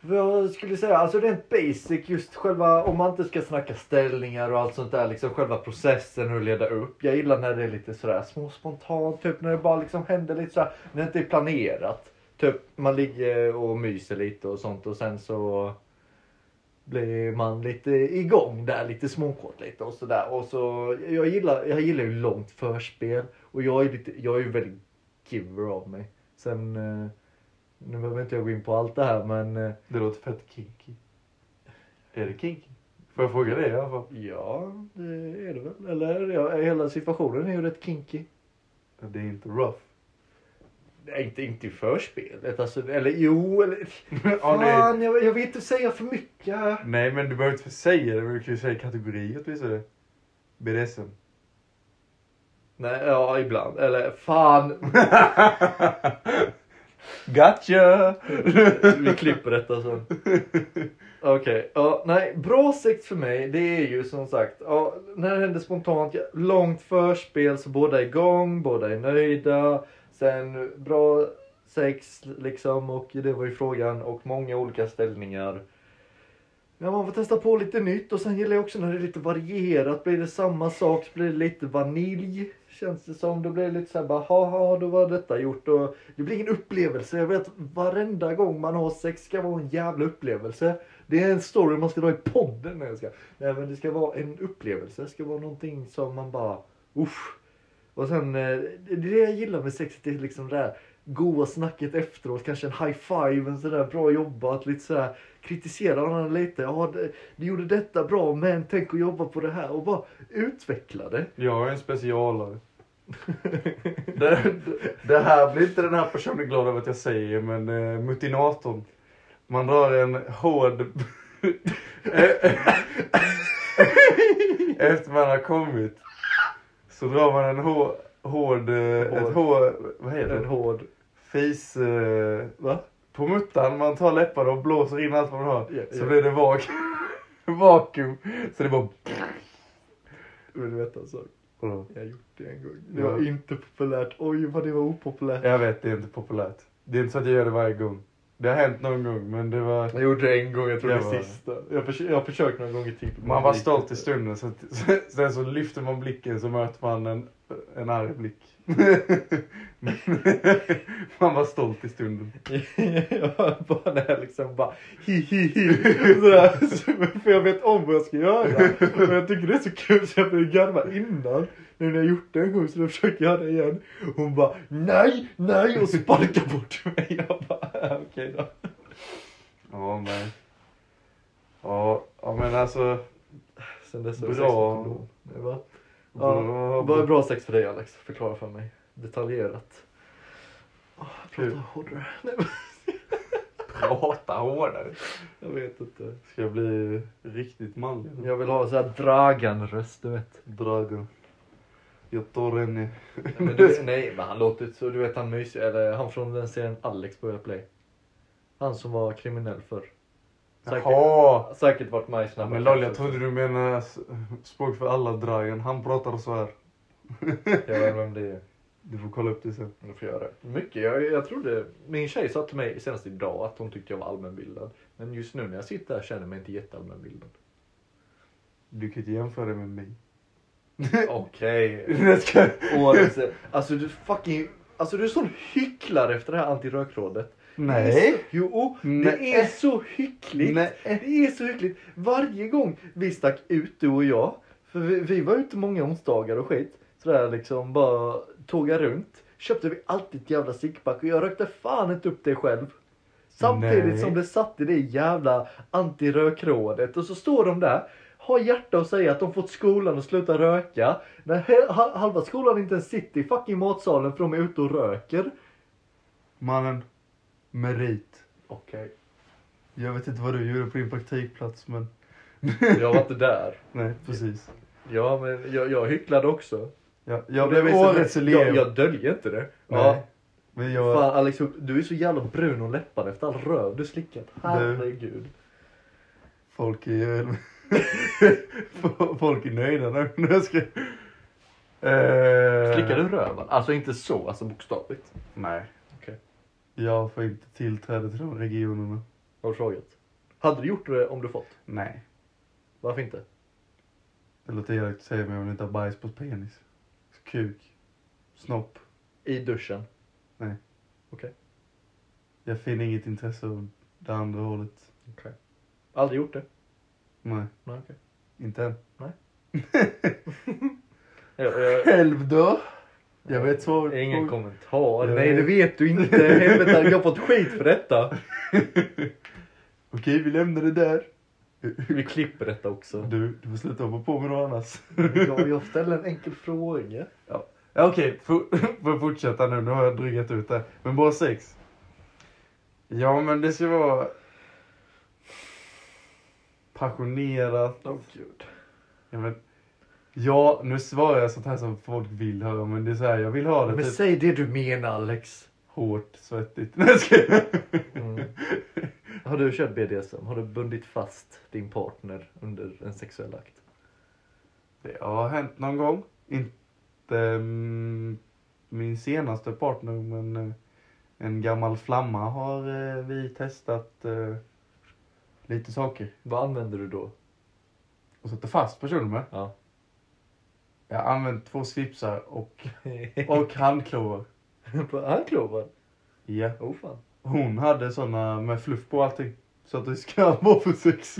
Speaker 1: Vad jag skulle säga, alltså rent basic just själva om man inte ska snacka ställningar och allt sånt där liksom själva processen hur leda upp. Jag gillar när det är lite sådär små spontant typ när det bara liksom händer lite sådär när det inte är planerat. Typ man ligger och myser lite och sånt och sen så blir man lite igång där lite småkort lite och sådär. Och så jag gillar, jag gillar ju långt förspel och jag är, lite, jag är ju väldigt giver av mig. Sen, eh, nu behöver inte jag gå in på allt det här men eh,
Speaker 2: Det låter fett kinky. Är det kinky? Får jag fråga dig i alla fall?
Speaker 1: ja det är det väl. Eller ja, hela situationen är ju rätt kinky.
Speaker 2: Det är inte rough.
Speaker 1: Nej, inte, inte i förspelet. Alltså, eller jo, eller...
Speaker 2: Ja, nej.
Speaker 1: Fan, jag, jag vill inte säga för mycket.
Speaker 2: nej, men du behöver inte säga det. Men du kan ju säga kategori åtminstone. BDSM.
Speaker 1: Nej, ja, ibland. Eller fan.
Speaker 2: Gotcha!
Speaker 1: Vi klipper detta sen. Okej, ja, nej. Bra sex för mig, det är ju som sagt, ja, när det händer spontant, ja, långt förspel så båda är igång, båda är nöjda. Sen bra sex liksom och det var ju frågan och många olika ställningar. Ja, man får testa på lite nytt och sen gillar jag också när det är lite varierat. Blir det samma sak så blir det lite vanilj. Känns det som. Då blir det lite så här bara haha då var detta gjort. Och det blir ingen upplevelse. Jag vet varenda gång man har sex ska vara en jävla upplevelse. Det är en story man ska dra i podden. när jag ska. Nej men det ska vara en upplevelse. Det ska vara någonting som man bara usch. Och sen eh, det, det jag gillar med sex det är liksom det här goa snacket efteråt. Kanske en high five, en sådär bra jobbat. Lite sådär kritisera varandra lite. Ja, det- du gjorde detta bra, men tänk att jobba på det här och bara utveckla det.
Speaker 2: Jag är en specialare.
Speaker 1: det,
Speaker 2: Det här blir inte den här personen glad över att jag säger, men eh, mutinatorn. Man drar en hård... Efter man har kommit så drar man en hår, hård... eh, Ett hår... Vad heter
Speaker 1: en
Speaker 2: det?
Speaker 1: hård...
Speaker 2: Fis... Eh,
Speaker 1: Va?
Speaker 2: på muttan, man tar läpparna och blåser in allt vad man har.
Speaker 1: Ja,
Speaker 2: så
Speaker 1: ja.
Speaker 2: blir det vak vakuum. Så det bara...
Speaker 1: Vill du veta en sak?
Speaker 2: Vadå?
Speaker 1: Jag har gjort det en gång. Det var
Speaker 2: Ja.
Speaker 1: inte populärt. Oj, vad det var opopulärt.
Speaker 2: Jag vet, det är inte populärt. Det är inte så att jag gör det varje gång. Det har hänt någon gång, men det var...
Speaker 1: Jag gjorde det en gång, jag tror det
Speaker 2: Jag var-
Speaker 1: sista. Jag, förs- jag har försökt några gånger till. men
Speaker 2: Man
Speaker 1: det
Speaker 2: var
Speaker 1: gick
Speaker 2: stolt
Speaker 1: inte.
Speaker 2: i stunden, så att, sen så lyfter man blicken så möter man en, en arg blick. man var stolt i stunden.
Speaker 1: jag hör bara när jag liksom bara hi hi hi. Sådär. Så- För jag vet om vad jag ska göra. Och jag tycker det är så kul så jag började garva innan. Nu när jag gjort det en gång så nu försöker jag göra det igen. Hon bara nej, nej och sparkar bort mig. Jag bara "Ah, okej då.
Speaker 2: Ja, men... Ja, ja, men alltså...
Speaker 1: Sen dess har
Speaker 2: Bra.
Speaker 1: jag sex med kondom. Det var- Ja, Vad är bra sex för dig Alex? Förklara för mig. Detaljerat. Oh, prata
Speaker 2: Kul.
Speaker 1: hårdare. Nej, men
Speaker 2: Prata hårdare.
Speaker 1: jag vet inte.
Speaker 2: Ska jag bli riktigt manlig? nu?
Speaker 1: Jag vill ha så här Dragan-röst du vet.
Speaker 2: Dragan. Jag tar en...
Speaker 1: Nej, Men du, nej, men han låter ut så. Du vet han mysig, eller han från den serien Alex börjar play. Han som var kriminell förr. Säkert,
Speaker 2: Jaha!
Speaker 1: säkert varit med i
Speaker 2: Ja,
Speaker 1: Snabba
Speaker 2: men Lolly,
Speaker 1: Cash
Speaker 2: jag
Speaker 1: också.
Speaker 2: trodde du menade s- språk för alla Dragan. Han pratar så här.
Speaker 1: Jag vet vem det är.
Speaker 2: Du får kolla upp det sen.
Speaker 1: Du får göra det. Mycket. Jag, jag trodde, min tjej sa till mig senast idag att hon tyckte jag var allmänbildad. Men just nu när jag sitter här känner jag mig inte jätteallmänbildad.
Speaker 2: Du kan inte jämföra det med mig.
Speaker 1: Okej.
Speaker 2: Jag ska-
Speaker 1: Årets... Alltså du fucking... Alltså du är sån hycklare efter det här antirökrådet.
Speaker 2: Nej!
Speaker 1: Jo, det
Speaker 2: Nej.
Speaker 1: är så hyckligt.
Speaker 2: Nej.
Speaker 1: Det är så hyckligt. Varje gång vi stack ut, du och jag. För vi, vi var ute många onsdagar och skit. Sådär liksom bara tåga runt. Köpte vi alltid ett jävla ciggpack och jag rökte fan inte upp det själv. Samtidigt
Speaker 2: Nej.
Speaker 1: som det satt i det jävla antirökrådet. Och så står de där, har hjärta och säger att de fått skolan att sluta röka. När he- ha- halva skolan inte ens sitter i fucking matsalen för de är ute och röker.
Speaker 2: Mannen. Merit.
Speaker 1: Okej.
Speaker 2: Jag vet inte vad du gjorde på din praktikplats men...
Speaker 1: Jag var inte där.
Speaker 2: Nej, precis.
Speaker 1: Ja, men jag, jag hycklade också.
Speaker 2: Jag,
Speaker 1: På
Speaker 2: jag
Speaker 1: det
Speaker 2: blev
Speaker 1: viset-
Speaker 2: årets elev.
Speaker 1: Jag, jag döljer inte det. Ja.
Speaker 2: Nej. Men
Speaker 1: Fan
Speaker 2: jag...
Speaker 1: Alex, du är så jävla brun om läpparna efter all röv du slickat. Herregud.
Speaker 2: Folk är ju... Folk är nöjda nu. när jag ska... Eh,
Speaker 1: Slickar du röven? Alltså inte så, alltså bokstavligt.
Speaker 2: Nej.
Speaker 1: Okej.
Speaker 2: Jag får inte tillträde till de regionerna.
Speaker 1: Har du frågat? Hade du gjort det om du fått?
Speaker 2: Nej.
Speaker 1: Varför inte?
Speaker 2: Det låter elakt att säga men jag vill inte ha bajs på penis. Kuk. Snopp.
Speaker 1: I duschen?
Speaker 2: Jag finner inget intresse av det andra hålet.
Speaker 1: Aldrig gjort det?
Speaker 2: Nej,
Speaker 1: Nej, okej.
Speaker 2: inte än.
Speaker 1: Jag, jag,
Speaker 2: Själv då? Jag vet svaret
Speaker 1: ingen
Speaker 2: på...
Speaker 1: kommentar.
Speaker 2: Jag-
Speaker 1: Nej, det vet du inte. Helvete, jag har fått skit för detta.
Speaker 2: Okej, vi lämnar det där.
Speaker 1: Vi klipper detta också.
Speaker 2: Du, du får sluta hoppa på mig då annars.
Speaker 1: Jag, jag ställer en enkel fråga.
Speaker 2: Ja. Ja, Okej, för, för att fortsätta nu. Nu har jag drygat ut det. Men bara sex. Ja, men det ska vara passionerat.
Speaker 1: Åh gud.
Speaker 2: Ja, men, ja, nu svarar jag sånt här som folk vill höra, men det är så här, jag vill ha det
Speaker 1: Men
Speaker 2: typ
Speaker 1: säg det du menar Alex.
Speaker 2: hårt, svettigt. Nej, jag skojar.
Speaker 1: Har du kört BDSM? Har du bundit fast din partner under en sexuell akt?
Speaker 2: Det har hänt någon gång. Inte mm, min senaste partner, men eh, en gammal flamma har eh, vi testat eh, lite saker.
Speaker 1: Vad använder du då?
Speaker 2: Och satte fast personen med.
Speaker 1: Ja.
Speaker 2: Jag har använt två svipsar och, och handklovar.
Speaker 1: Handklovar?
Speaker 2: Ja.
Speaker 1: Oh fan.
Speaker 2: Hon hade såna med fluff på och allting. Så att det ska vara för sex.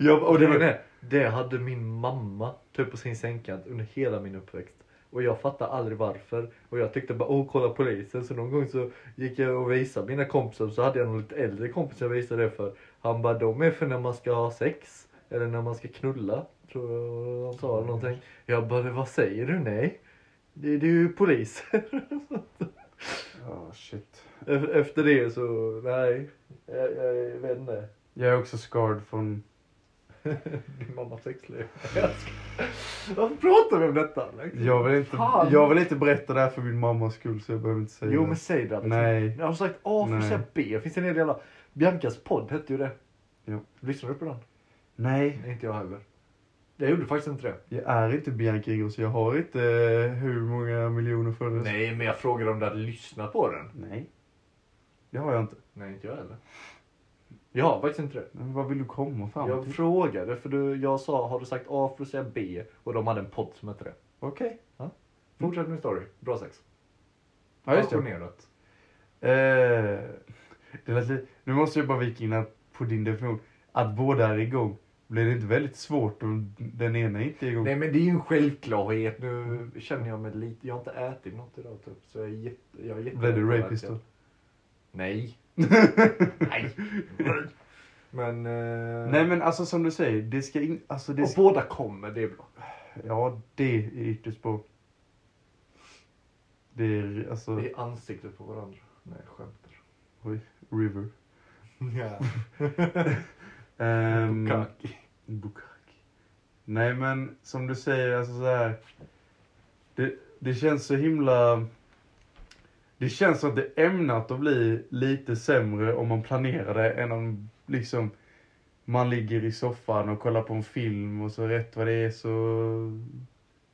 Speaker 2: ja, och det var...
Speaker 1: det hade min mamma typ på sin sängkant under hela min uppväxt. Och jag fattade aldrig varför. Och jag tyckte bara åh kolla polisen. Så någon gång så gick jag och visade mina kompisar. Så hade jag någon lite äldre kompis jag visade det för. Han bara de är för när man ska ha sex. Eller när man ska knulla. Tror jag han sa eller någonting. Jag bara vad säger du nej? Det, det är ju poliser.
Speaker 2: Ja, Ah, shit.
Speaker 1: E- Efter det så nej. Jag, jag vet inte.
Speaker 2: Jag är också scarred från...
Speaker 1: Din mamma sexliv. Jag ska- Varför pratar vi om detta? Alex?
Speaker 2: Jag vill inte,
Speaker 1: Fan.
Speaker 2: jag vill inte berätta det här för min mammas skull så jag behöver inte säga
Speaker 1: Jo
Speaker 2: det.
Speaker 1: men säg det Alex.
Speaker 2: Nej.
Speaker 1: Jag har sagt A för att
Speaker 2: Nej.
Speaker 1: säga B. Finns det en hel jävla... Biancas podd hette ju det.
Speaker 2: Jo.
Speaker 1: Lyssnar du på den?
Speaker 2: Nej,
Speaker 1: Nej, inte jag heller. Jag gjorde faktiskt inte det.
Speaker 2: jag är inte Bianca Ingrosso. Jag har inte eh, hur många miljoner följare.
Speaker 1: Nej, men jag frågade om du hade lyssnat på den.
Speaker 2: Nej. Det har jag inte.
Speaker 1: Nej, inte jag heller. Jag har faktiskt inte det.
Speaker 2: Men vad vill du komma fram
Speaker 1: Jag
Speaker 2: till?
Speaker 1: frågade, för du, jag sa har du sagt A för att säga B? Och de hade en podd som hette det.
Speaker 2: Okej.
Speaker 1: Fortsätt med story. Bra sex.
Speaker 2: Ja, just det.
Speaker 1: Passionerat.
Speaker 2: Eh, det lät li- nu måste jag bara vika in att på din definition. Att båda är igång. Blir det inte väldigt svårt om den ena inte är igång?
Speaker 1: Nej, men det är ju en självklarhet. Nu känner jag mig lite... Jag har inte ätit något idag typ. Så jag är jätte... Jag är jätte
Speaker 2: Blir det rapist då?
Speaker 1: Nej. Nej. Men... Eh...
Speaker 2: Nej men alltså som du säger, det ska in, alltså det
Speaker 1: Och
Speaker 2: ska,
Speaker 1: båda kommer, det är bra.
Speaker 2: Ja, det är ytterst bra. Det är alltså,
Speaker 1: Vi är ansiktet på varandra. Nej, jag skämtar. Eh.
Speaker 2: oj, river.
Speaker 1: Ja.
Speaker 2: Ehm, Bukaki. Nej men som du säger, alltså så här. Det, det känns så himla... Det känns som att det är ämnat att bli lite sämre om man planerar det än om liksom man ligger i soffan och kollar på en film och så rätt vad det är så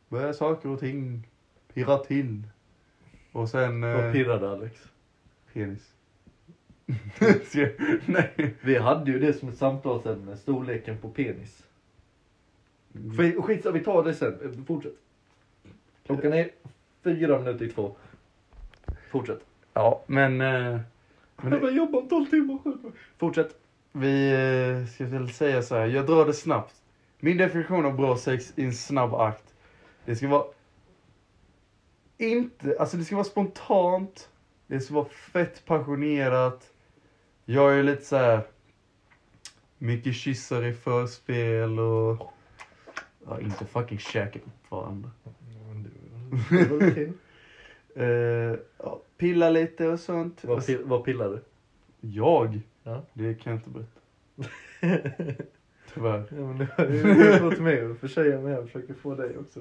Speaker 2: börjar saker och ting pirra till. Och sen...
Speaker 1: Vad
Speaker 2: Eh,
Speaker 1: pirrade Alex?
Speaker 2: penis. Ska jag- Nej.
Speaker 1: Vi hade ju det som ett samtalsämne, storleken på penis. Skit- Skitsamma, vi tar det sen. Eh, Fortsätt. Klockan är fyra minuter i två. Fortsätt.
Speaker 2: Ja, men... Eh, men det-
Speaker 1: Jag jobbar om 12 timmar själv. Fortsätt.
Speaker 2: Vi eh, ska väl säga så här, jag drar det snabbt. Min definition av bra sex i en snabb akt. Det ska vara... Inte, alltså det ska vara spontant. Det ska vara fett passionerat. Jag är lite så här... Mycket kyssar i förspel och... Ja, inte fucking käka upp varandra. Eh, ja, pilla lite och sånt.
Speaker 1: Vad pill- Vad pillar du?
Speaker 2: Jag?
Speaker 1: Ja.
Speaker 2: Det kan jag inte berätta. Tyvärr.
Speaker 1: Ja, men det har ju fått mig att försäga mig. Jag försöker få dig också.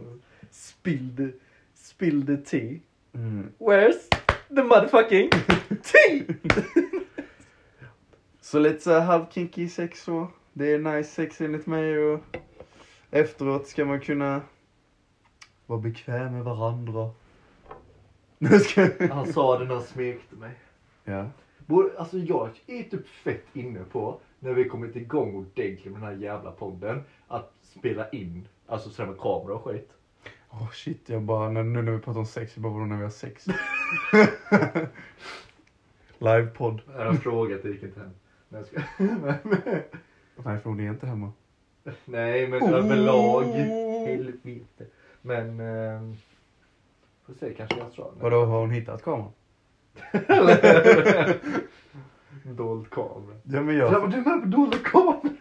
Speaker 1: Spill the, spill the tea.
Speaker 2: Mm.
Speaker 1: Where's the motherfucking tea?
Speaker 2: Så lite så här halvkinky sex så. Det är nice sex enligt mig och efteråt ska man kunna vara bekväm med varandra. Nu ska jag...
Speaker 1: Han sa det när han smekte mig.
Speaker 2: Ja.
Speaker 1: Borde- Alltså jag är typ fett inne på, när vi kommit igång ordentligt med den här jävla podden, att spela in. Alltså sådär med kamera och skit.
Speaker 2: Åh shit, jag bara, när- nu när vi pratar om sex, jag bara vadå när vi har sex? Livepodd.
Speaker 1: Jag har frågat, det gick inte hem. Nej, jag skojar.
Speaker 2: Nej, för hon är inte hemma.
Speaker 1: Nej, men
Speaker 2: Oh.
Speaker 1: överlag. Oh. Helvete. Men... Eh, får se, kanske jag tror.
Speaker 2: Vadå, har hon hittat kameran?
Speaker 1: Dold kamera.
Speaker 2: Ja men
Speaker 1: Ja. men Du är med på dolda kameran.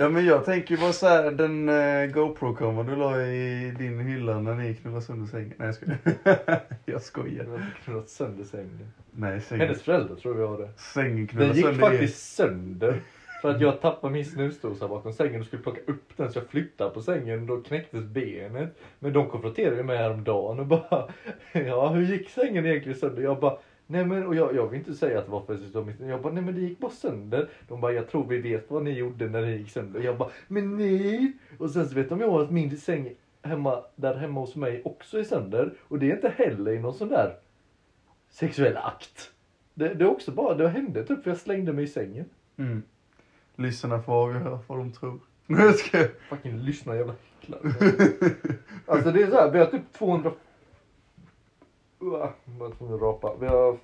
Speaker 2: Ja men jag tänker ju bara så här, den eh, GoPro-kameran du la i din hylla när ni knullade sönder sängen. Nej jag skojar. jag skojar.
Speaker 1: har knullat sönder sängen.
Speaker 2: Nej sängen,
Speaker 1: Hennes föräldrar tror vi har det.
Speaker 2: sängen
Speaker 1: Den
Speaker 2: knullade
Speaker 1: gick
Speaker 2: sönder er.
Speaker 1: faktiskt sönder. För att jag tappade min snusdosa bakom sängen och skulle plocka upp den så jag flyttade på sängen och då knäcktes benet. Men de konfronterade ju mig häromdagen och bara Ja hur gick sängen egentligen sönder? Jag bara Nej men och jag, jag vill inte säga att det var för att jag minns- Jag bara nej men det gick bara sönder. De bara jag tror vi vet vad ni gjorde när det gick sönder. Jag bara men nej. Och sen så vet de ju om att min säng hemma, där hemma hos mig också är sönder. Och det är inte heller i någon sån där sexuell akt. Det, det är också bara, det hände typ för jag slängde mig i sängen.
Speaker 2: Mm. Lyssna får avgöra vad de tror. Nej jag skojar.
Speaker 1: Fucking lyssna jävla hycklare. alltså det är så här, vi har typ 200... Uah, Jag var tvungen att rapa. Vi har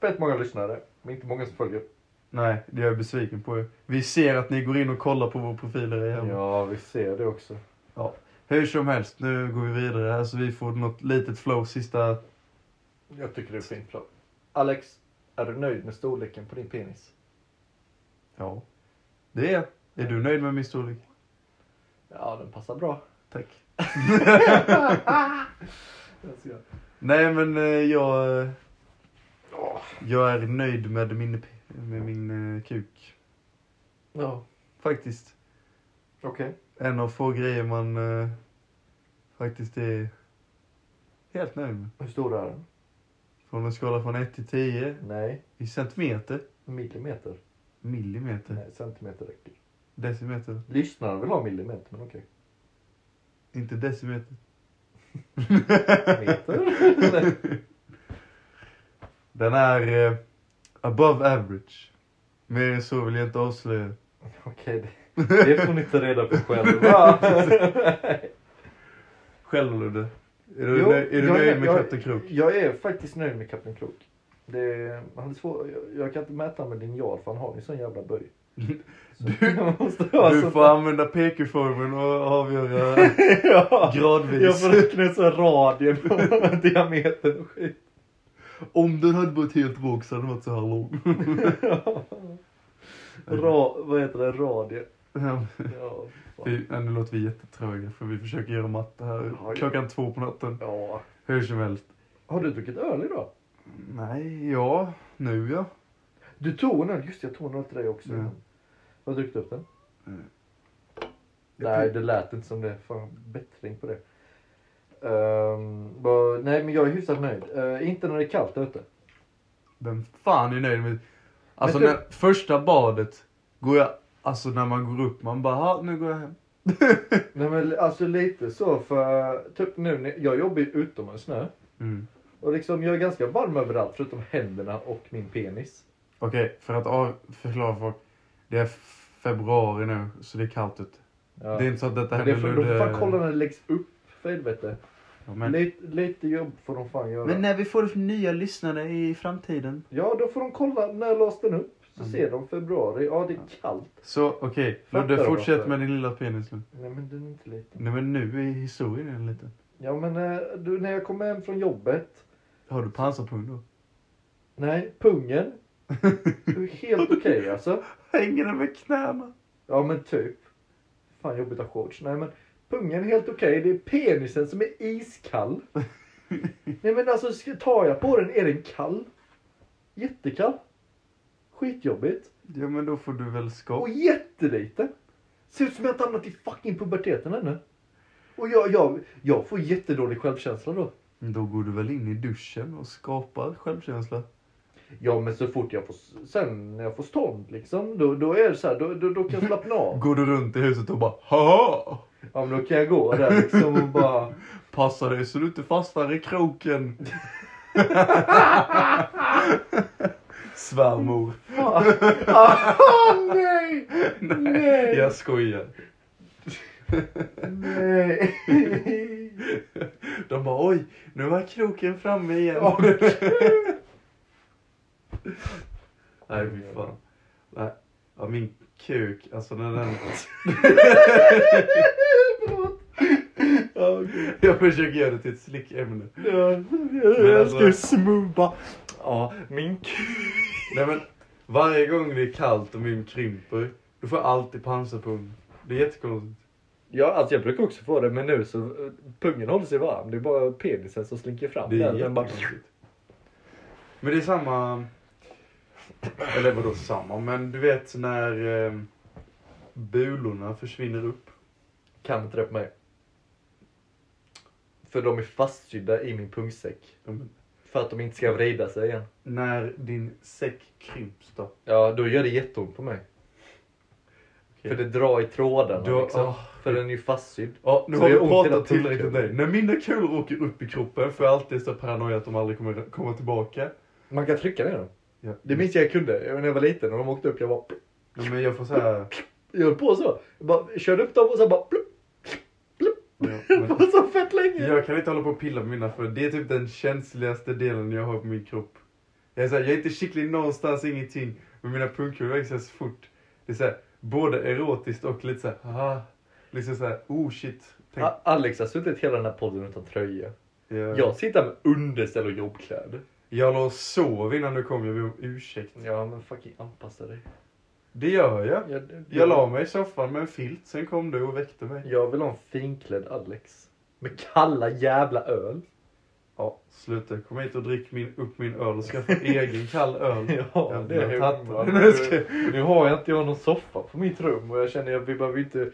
Speaker 1: fett många lyssnare, men inte många som följer.
Speaker 2: Nej, det är jag besviken på er. Vi ser att ni går in och kollar på vår profil där hemma.
Speaker 1: Ja, vi ser det också.
Speaker 2: Hur som helst, nu går vi vidare här så vi får något litet flow sista...
Speaker 1: Jag tycker det är fint plan. Alex, är du nöjd med storleken på din penis?
Speaker 2: Ja. Det är jag. Är du nöjd med min storlek?
Speaker 1: Ja, den passar bra.
Speaker 2: Tack.
Speaker 1: Jag ska-
Speaker 2: Nej men eh, jag... eh, Jag är nöjd med min, p- med min eh, kuk.
Speaker 1: Ja,
Speaker 2: Faktiskt.
Speaker 1: okej.
Speaker 2: En av få grejer man eh, faktiskt är helt nöjd med.
Speaker 1: Hur stor är den?
Speaker 2: Från en skala från 1 till 10
Speaker 1: Nej,
Speaker 2: i centimeter,
Speaker 1: millimeter.
Speaker 2: millimeter,
Speaker 1: Nej, centimeter räcker.
Speaker 2: decimeter.
Speaker 1: Lyssnarna vill ha millimeter, men okej.
Speaker 2: Inte decimeter.
Speaker 1: Meter?
Speaker 2: Den är eh, above average. Mer än så vill jag inte avslöja.
Speaker 1: Okej, det, det får ni ta reda på själva.
Speaker 2: Själv Ludde? Är du,
Speaker 1: Jo,
Speaker 2: nöj, är du
Speaker 1: jag är-
Speaker 2: nöjd med
Speaker 1: jag-
Speaker 2: Kapten Krok?
Speaker 1: jag är faktiskt nöjd med Kapten Krok. Det, han är svår, jag, jag kan inte mäta med linjal för han har ju sån jävla böj. Så
Speaker 2: Du-
Speaker 1: jag måste ha
Speaker 2: Du
Speaker 1: sån-
Speaker 2: får använda PQ-formen och avgöra
Speaker 1: ja,
Speaker 2: gradvis.
Speaker 1: jag får räkna en sån radie på diametern och skit.
Speaker 2: Mm. Om den hade varit helt våg så hade den varit så här lång.
Speaker 1: Ra, vad heter det? Radie.
Speaker 2: Ja,
Speaker 1: Ja, fan.
Speaker 2: vi- ja, nu låter vi jättetröga för vi försöker göra matte här
Speaker 1: Ja,
Speaker 2: klockan två på natten.
Speaker 1: ja.
Speaker 2: Hur som helst.
Speaker 1: Har du druckit öl idag?
Speaker 2: Nej, ja. Nu ja.
Speaker 1: Du tog en öl, just det, jag tog en öl till dig också.
Speaker 2: Ja.
Speaker 1: Har du druckit upp den?
Speaker 2: Mm.
Speaker 1: Nej, det lät inte som det. Fan, bättring på det. Ehm, bara, nej, men jag är hyfsat nöjd. Eh, inte när det är kallt där ute.
Speaker 2: Vem fan är nöjd med... Alltså
Speaker 1: Men du-
Speaker 2: när, första badet går jag... Alltså när man går upp man bara, "Ha, nu går jag hem.
Speaker 1: Nej, men alltså lite så för typ nu, när- jag jobbar ju utomhus nu.
Speaker 2: Mm.
Speaker 1: Och liksom jag är ganska varm överallt förutom händerna och min penis.
Speaker 2: Okej, för att av- förklara för folk. Det är februari nu så det är kallt ute.
Speaker 1: Ja.
Speaker 2: Det är inte så att detta
Speaker 1: Men det är
Speaker 2: händer
Speaker 1: för, de får fan kolla när det läggs upp för helvete.
Speaker 2: Ja, men...
Speaker 1: Lite, lite jobb får de fan göra.
Speaker 2: men när vi får nya lyssnare i framtiden.
Speaker 1: Ja, då får de kolla när lades den upp. Så
Speaker 2: Mm.
Speaker 1: ser de februari. Ja, det är kallt.
Speaker 2: Så okej,
Speaker 1: Fattar
Speaker 2: Ludde
Speaker 1: du
Speaker 2: fortsätt
Speaker 1: varför?
Speaker 2: med din lilla penis nu.
Speaker 1: Nej, men den är inte liten.
Speaker 2: Nej men nu är historien en liten.
Speaker 1: Ja men eh, du, när jag kom hem från jobbet.
Speaker 2: Har du pansarpung då?
Speaker 1: Nej, pungen. Det är helt okej alltså.
Speaker 2: Hänger den med knäna?
Speaker 1: Ja men typ. Fan jobbigt att ha shorts. Nej men pungen är helt okej. Det är penisen som är iskall. Nej men alltså ska- tar jag på den är den kall. Jättekall. Skitjobbigt.
Speaker 2: Ja men då får du väl skap.
Speaker 1: Och jätteliten. Ser ut som jag inte hamnat i fucking puberteten ännu. Och jag, jag, jag får jättedålig självkänsla då.
Speaker 2: Då går du väl in i duschen och skapar självkänsla.
Speaker 1: Ja men så fort jag får, sen när jag får stånd liksom, då, då är det så här, då, då, då kan jag slappna av.
Speaker 2: Går du runt i huset och bara haha!
Speaker 1: Ja men då kan jag gå där liksom och bara,
Speaker 2: Passa dig så du inte fastnar i kroken. Svärmor.
Speaker 1: ah, ah, nej, nej,
Speaker 3: Jag skojar.
Speaker 1: nej.
Speaker 2: De bara oj, nu var kroken framme igen.
Speaker 1: Ja.
Speaker 2: Nej fy fan. Nej. Ja, min kuk, alltså när den...
Speaker 1: Förlåt.
Speaker 2: Jag försöker göra det till ett slickämne.
Speaker 1: Ja,
Speaker 2: Men
Speaker 1: Jag
Speaker 2: alltså-
Speaker 1: ska ju smubba. Ja, min k-
Speaker 2: Nej men, varje gång det är kallt och min krymper Du får alltid pansarpung. Det är jättekonstigt.
Speaker 1: Ja, alltså jag brukar också få det, men nu så eh, pungen håller sig varm. Det är bara penisen som slinker fram.
Speaker 2: Det är
Speaker 1: där, den bara-
Speaker 2: jättekonstigt. Men det är samma... Eller vadå samma? Men du vet när eh, bulorna försvinner upp.
Speaker 1: Kan inte det på mig. För de är fastsydda i min pungsäck.
Speaker 2: De,
Speaker 1: För att de inte ska vrida sig igen.
Speaker 2: när din säck krymps då.
Speaker 1: Ja, då gör det jätteont på mig.
Speaker 2: Okej.
Speaker 1: För det drar i trådarna
Speaker 2: Då-
Speaker 1: liksom.
Speaker 2: ah.
Speaker 1: För den är ju fastsydd.
Speaker 2: Ja, nu
Speaker 1: Så
Speaker 2: har
Speaker 1: det
Speaker 2: vi
Speaker 1: gör ont i
Speaker 2: pratat
Speaker 1: hela
Speaker 2: tillräckligt om
Speaker 1: pungkulorna.
Speaker 2: dig. När mina kulor åker upp i kroppen får jag alltid så paranoia att de aldrig kommer komma tillbaka.
Speaker 1: Man kan trycka ner dem.
Speaker 2: Ja.
Speaker 1: Det minns jag jag kunde. Jag- När jag var liten och de åkte upp. Jag bara...
Speaker 2: Ja, men jag får så här...
Speaker 1: Jag höll på så. Jag bara körde upp dem och sen bara... Plupp, plupp.
Speaker 2: Ja,
Speaker 1: Det
Speaker 2: men-
Speaker 1: var så fett länge.
Speaker 2: Jag kan inte hålla på och pilla på mina för det är typ den känsligaste delen jag har på min kropp. Jag är, så här, jag är inte kittlig någonstans, ingenting. Men mina pungkulor växer så fort. Det är så här, både erotiskt och lite så här, haha. Liksom så här, oh shit. Tänk,
Speaker 1: A- Alex har suttit hela den här podden utan tröja.
Speaker 2: jag, jag...
Speaker 1: Jag sitter med underställ och jobbkläder.
Speaker 2: låg och sov innan du kom, jag ber om ursäkt.
Speaker 1: Ja men fucking anpassa dig.
Speaker 2: Det gör jag.
Speaker 1: Jag,
Speaker 2: Jag la mig i soffan med en filt, sen kom du och väckte mig.
Speaker 1: jag vill ha en finklädd Alex. Med kalla jävla öl.
Speaker 2: Ja, sluta. Kom hit och drick min, upp min öl och skaffa egen kall öl.
Speaker 1: Ja,
Speaker 2: Jag
Speaker 1: det är
Speaker 2: har tagit
Speaker 1: humor.
Speaker 2: den. Nu ska jag-
Speaker 1: Nu har jag inte jag någon soffa på mitt rum och jag känner att vi behöver inte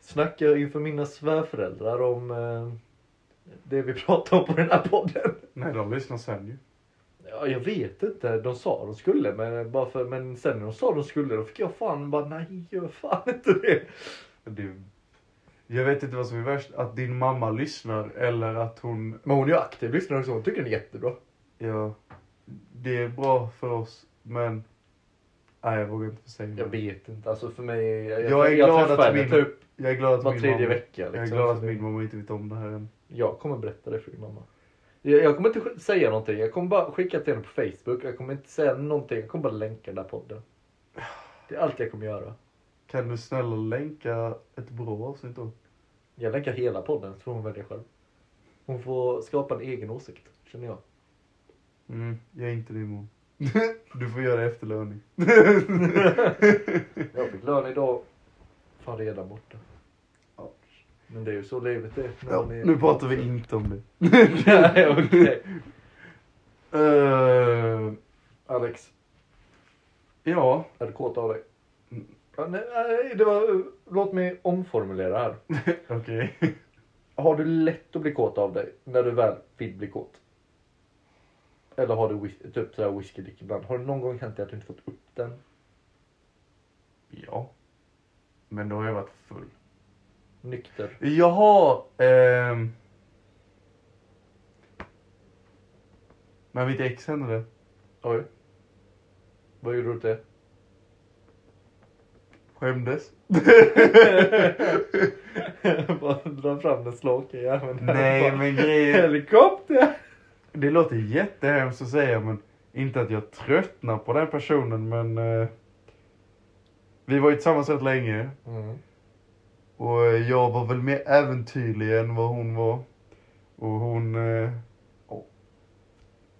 Speaker 1: snacka inför mina svärföräldrar om eh, det vi pratar om på den här podden.
Speaker 2: Nej, de lyssnar sen ju.
Speaker 1: Ja, jag vet inte, de sa de skulle men, bara för, men sen när de sa de skulle då fick jag fan bara nej gör fan inte det.
Speaker 2: Du, jag vet inte vad som är värst, att din mamma lyssnar eller att hon...
Speaker 1: Men hon är ju aktiv lyssnare också, hon tycker den är jättebra.
Speaker 2: Ja, det är bra för oss, men... Nej, jag vågar inte säga
Speaker 1: Jag
Speaker 2: mer.
Speaker 1: vet inte, alltså för mig. Jag,
Speaker 2: Jag är glad
Speaker 1: träffar
Speaker 2: att
Speaker 1: henne
Speaker 2: min-
Speaker 1: typ
Speaker 2: Jag är glad att
Speaker 1: var
Speaker 2: min
Speaker 1: tredje
Speaker 2: mamma...
Speaker 1: vecka.
Speaker 2: Jag är
Speaker 1: liksom.
Speaker 2: glad att min mamma inte vet om det här än.
Speaker 1: Jag kommer berätta det för din mamma. Jag, jag kommer inte sk- säga någonting. Jag kommer bara skicka till henne på Facebook. Jag kommer inte säga någonting. Jag kommer bara länka den där podden. Det är allt jag kommer göra.
Speaker 2: Kan du snälla länka ett bra avsnitt då?
Speaker 1: Jag länkar hela podden så får hon välja själv. Hon får skapa en egen åsikt, känner jag.
Speaker 2: Mm, jag är inte din mor. Du får göra det efter löning.
Speaker 1: Jag fick lön idag. Fan, redan borta.
Speaker 2: Ja.
Speaker 1: Men det är ju så livet är. när
Speaker 2: Ja,
Speaker 1: man är-
Speaker 2: nu pratar vi inte om det.
Speaker 1: Nej, okej.
Speaker 2: Eh,
Speaker 1: Alex,
Speaker 2: ja,
Speaker 1: är du kåt av dig?
Speaker 2: Mm.
Speaker 1: Ja, nej, nej, det var, låt mig omformulera här.
Speaker 2: okej.
Speaker 1: Har du lätt att bli kåt av dig när du väl vill bli kåt? Eller har du whis- typ sådär whiskydick ibland? Har det någon gång hänt dig att du inte fått upp den?
Speaker 2: Ja. Men då har jag varit full.
Speaker 1: Nykter?
Speaker 2: Jaha. ehm. Men mitt ex hände det.
Speaker 1: Oj. Vad gjorde du åt det?
Speaker 2: Skämdes.
Speaker 1: Bara dra fram den slaka jäveln.
Speaker 2: Nej men grejen.
Speaker 1: Helikopter!
Speaker 2: Det låter jättehemskt att säga men inte att jag tröttnar på den personen men. eh, vi var ju tillsammans rätt länge
Speaker 1: Mm.
Speaker 2: och eh, jag var väl mer äventyrlig än vad hon var. Och hon. eh, ja.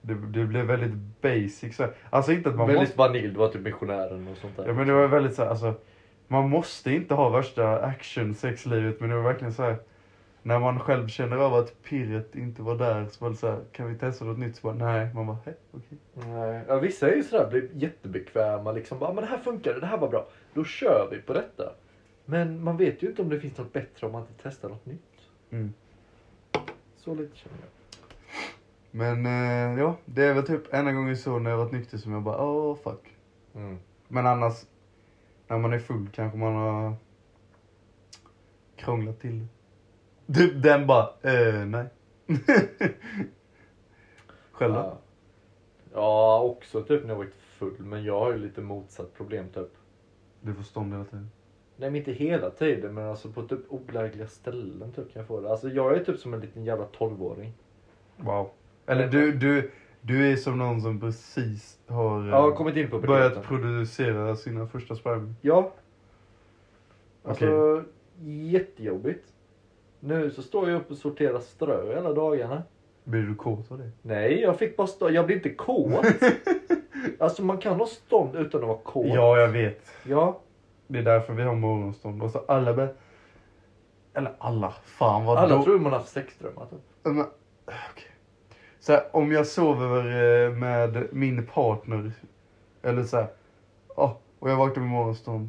Speaker 2: det, det blev väldigt basic så här. Alltså inte att man måste.
Speaker 1: Väldigt vanilj, du var typ missionären och sånt där.
Speaker 2: Ja men det var väldigt så här, alltså man måste inte ha värsta action sexlivet men det var verkligen så här när man själv känner av att pirret inte var där så var det så här, kan vi testa något nytt? Så bara, nej, man bara, hej, okej.
Speaker 1: Nej. Ja, vissa är ju sådär, blir jättebekväma liksom. Bara, men det här funkade, det här var bra. Då kör vi på detta. Men man vet ju inte om det finns något bättre om man inte testar något nytt.
Speaker 2: Mm.
Speaker 1: Så lite känner jag.
Speaker 2: Men eh, ja, det är väl typ enda gången så när jag varit nykter som jag bara, åh fuck. Mm. Men annars, när man är full kanske man har krånglat till det. Typ den bara, eh, nej. Själv då?
Speaker 1: Ja. ja, också typ när jag varit full. Men jag har ju lite motsatt problem typ.
Speaker 2: Du får stånd hela tiden.
Speaker 1: Nej men inte hela tiden men alltså på typ olägliga ställen typ kan jag få det. Alltså jag är typ som en liten jävla tolvåring.
Speaker 2: Wow. Eller du, du, du är som någon som precis har eh,
Speaker 1: Jag har kommit in på puberteten.
Speaker 2: börjat producera sina första spermier.
Speaker 1: Ja.
Speaker 2: Okej.
Speaker 1: Alltså, jättejobbigt. Nu så står jag upp och sorterar strö hela dagarna.
Speaker 2: Blir du kåt av det?
Speaker 1: Nej, jag fick bara stå. Jag blir inte kåt. alltså man kan ha stånd utan att vara kåt.
Speaker 2: Ja, jag vet.
Speaker 1: Ja.
Speaker 2: Det är därför vi har morgonstånd. Och så alla be... Eller alla. Fan vad
Speaker 1: Alla
Speaker 2: då-
Speaker 1: tror man har haft sexdrömmar typ.
Speaker 2: Ja, Men, okej. Så här, om jag sover eh, med min partner. Eller så här. "Ja, och jag vaknar med morgonstånd.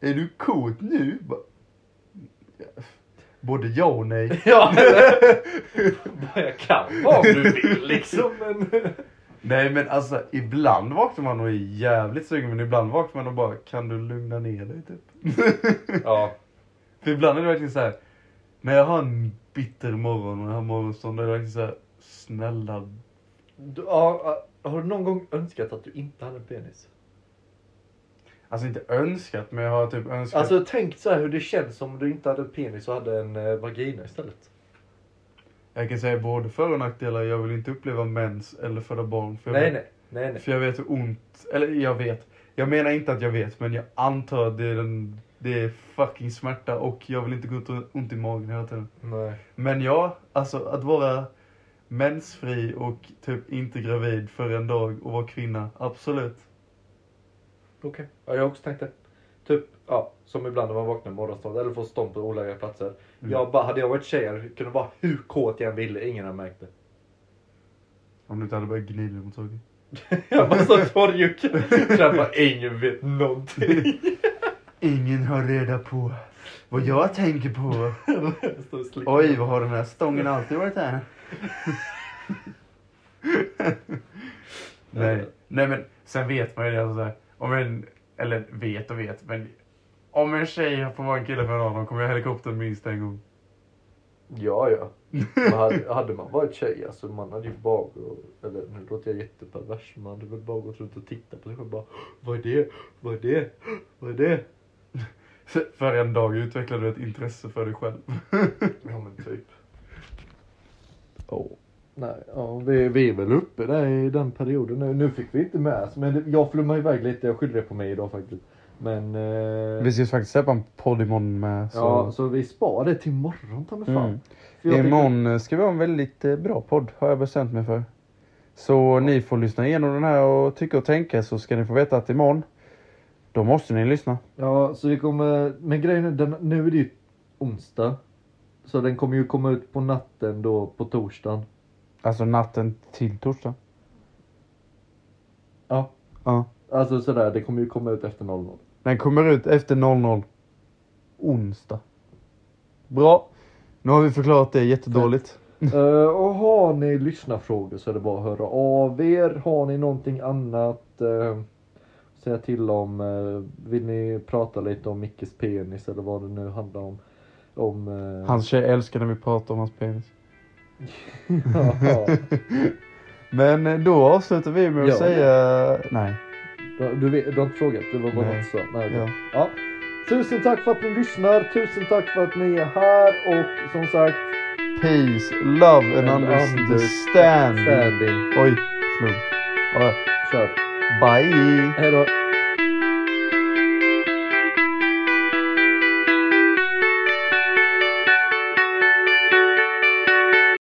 Speaker 2: Är du kåt nu? Ba- ja, Både ja och nej.
Speaker 1: Ja, eller- jag kan vara om du vill liksom. Men...
Speaker 2: nej men alltså ibland vaknar man och är jävligt sugen men ibland vaknar man och bara kan du lugna ner dig typ.
Speaker 1: Ja.
Speaker 2: För ibland är det verkligen så här. När jag har en bitter morgon och jag har morgonstånd då är det verkligen så här. Snälla.
Speaker 1: Du, ja, har du någon gång önskat att du inte hade en penis?
Speaker 2: Alltså inte önskat men jag har typ önskat.
Speaker 1: Alltså tänk så här hur det känns om du inte hade en penis och hade en eh, vagina istället.
Speaker 2: Jag kan säga både för och nackdelar. Jag vill inte uppleva mens eller föda barn. För jag,
Speaker 1: Nej,
Speaker 2: vet,
Speaker 1: nej, nej, nej.
Speaker 2: för jag vet hur ont... Eller jag vet. Jag menar inte att jag vet, men jag antar att det är, den, det är fucking smärta och jag vill inte gå ut och ont i magen hela tiden.
Speaker 1: nej.
Speaker 2: Men ja, alltså att vara mensfri och typ inte gravid för en dag och vara kvinna, absolut.
Speaker 1: Okej. Ja, jag har också tänkt det. Typ, ja, som ibland när man vaknar på morgonstånd eller får stånd på olagliga platser.
Speaker 2: Mm.
Speaker 1: Jag bara, hade jag varit tjej hade jag kunnat vara hur kåt jag än ville, ingen hade märkt det.
Speaker 2: Om du inte hade börjat gnida mot saker.
Speaker 1: Jag bara så torrjuk. Jag bara, ingen vet någonting.
Speaker 2: Ingen har reda på vad jag tänker på.
Speaker 1: Jag står och slickar.
Speaker 2: Oj, vad har den här stången alltid varit här? Nej. Nej, men sen vet man ju det. Alltså, så här, om en, eller vet och vet, men om en tjej får vara en kille för en dag, då kommer jag helikoptern minst en gång.
Speaker 1: Ja, ja. Men hade, hade man varit tjej, alltså man hade ju bara gått- eller nu låter jag jättepervers, men man hade väl bara gått runt och tittat på sig själv bara Vad är det? Vad är det? Vad är det?
Speaker 2: För en dag utvecklar du ett intresse för dig själv.
Speaker 1: Ja men typ. Nej, ja, vi, vi är väl uppe där i den perioden nu. Nu fick vi inte med oss, men det- jag flummade iväg lite. Jag skyller det på mig idag faktiskt. Men... Eh,
Speaker 2: ska faktiskt släppa en podd imorgon med.
Speaker 1: Ja, så vi sparar det till imorgon ta mig fan.
Speaker 2: Mm.
Speaker 1: För jag tänkte-
Speaker 2: ska vi ha en väldigt eh, bra podd, har jag bestämt mig för. Så ni får lyssna igenom den här och tycka och tänka så ska ni få veta att imorgon, då måste ni lyssna.
Speaker 1: Ja, så det kommer... Men grejen är, den, nu är det ju onsdag. Så den kommer ju komma ut på natten då på torsdagen.
Speaker 2: Alltså natten till torsdag.
Speaker 1: Ja.
Speaker 2: Ja.
Speaker 1: Alltså sådär, det kommer ju komma ut efter 00.
Speaker 2: Den kommer ut efter 00. Onsdag. Bra. Nu har vi förklarat det jättedåligt.
Speaker 1: Eh, och har ni lyssnarfrågor så är det bara att höra av er. Har ni någonting annat eh, säga till om. Eh, vill ni prata lite om Mickes penis eller vad det nu handlar om. Om... Eh,
Speaker 2: Hans tjej älskar när vi pratar om hans penis.
Speaker 1: ja,
Speaker 2: Men eh, då avslutar vi med att
Speaker 1: Ja.
Speaker 2: säga... Nej.
Speaker 1: du, du, vet- du har inte frågat, det var bara
Speaker 2: Nej.
Speaker 1: något så. Nej,
Speaker 2: Ja.
Speaker 1: Ja. Tusen tack för att ni lyssnar, tusen tack för att ni är här och som sagt,
Speaker 2: Peace, love and
Speaker 1: And
Speaker 2: understanding.
Speaker 1: standing.
Speaker 2: Oj, slog. Ja,
Speaker 1: Kör.
Speaker 2: Bye.
Speaker 1: Hej då.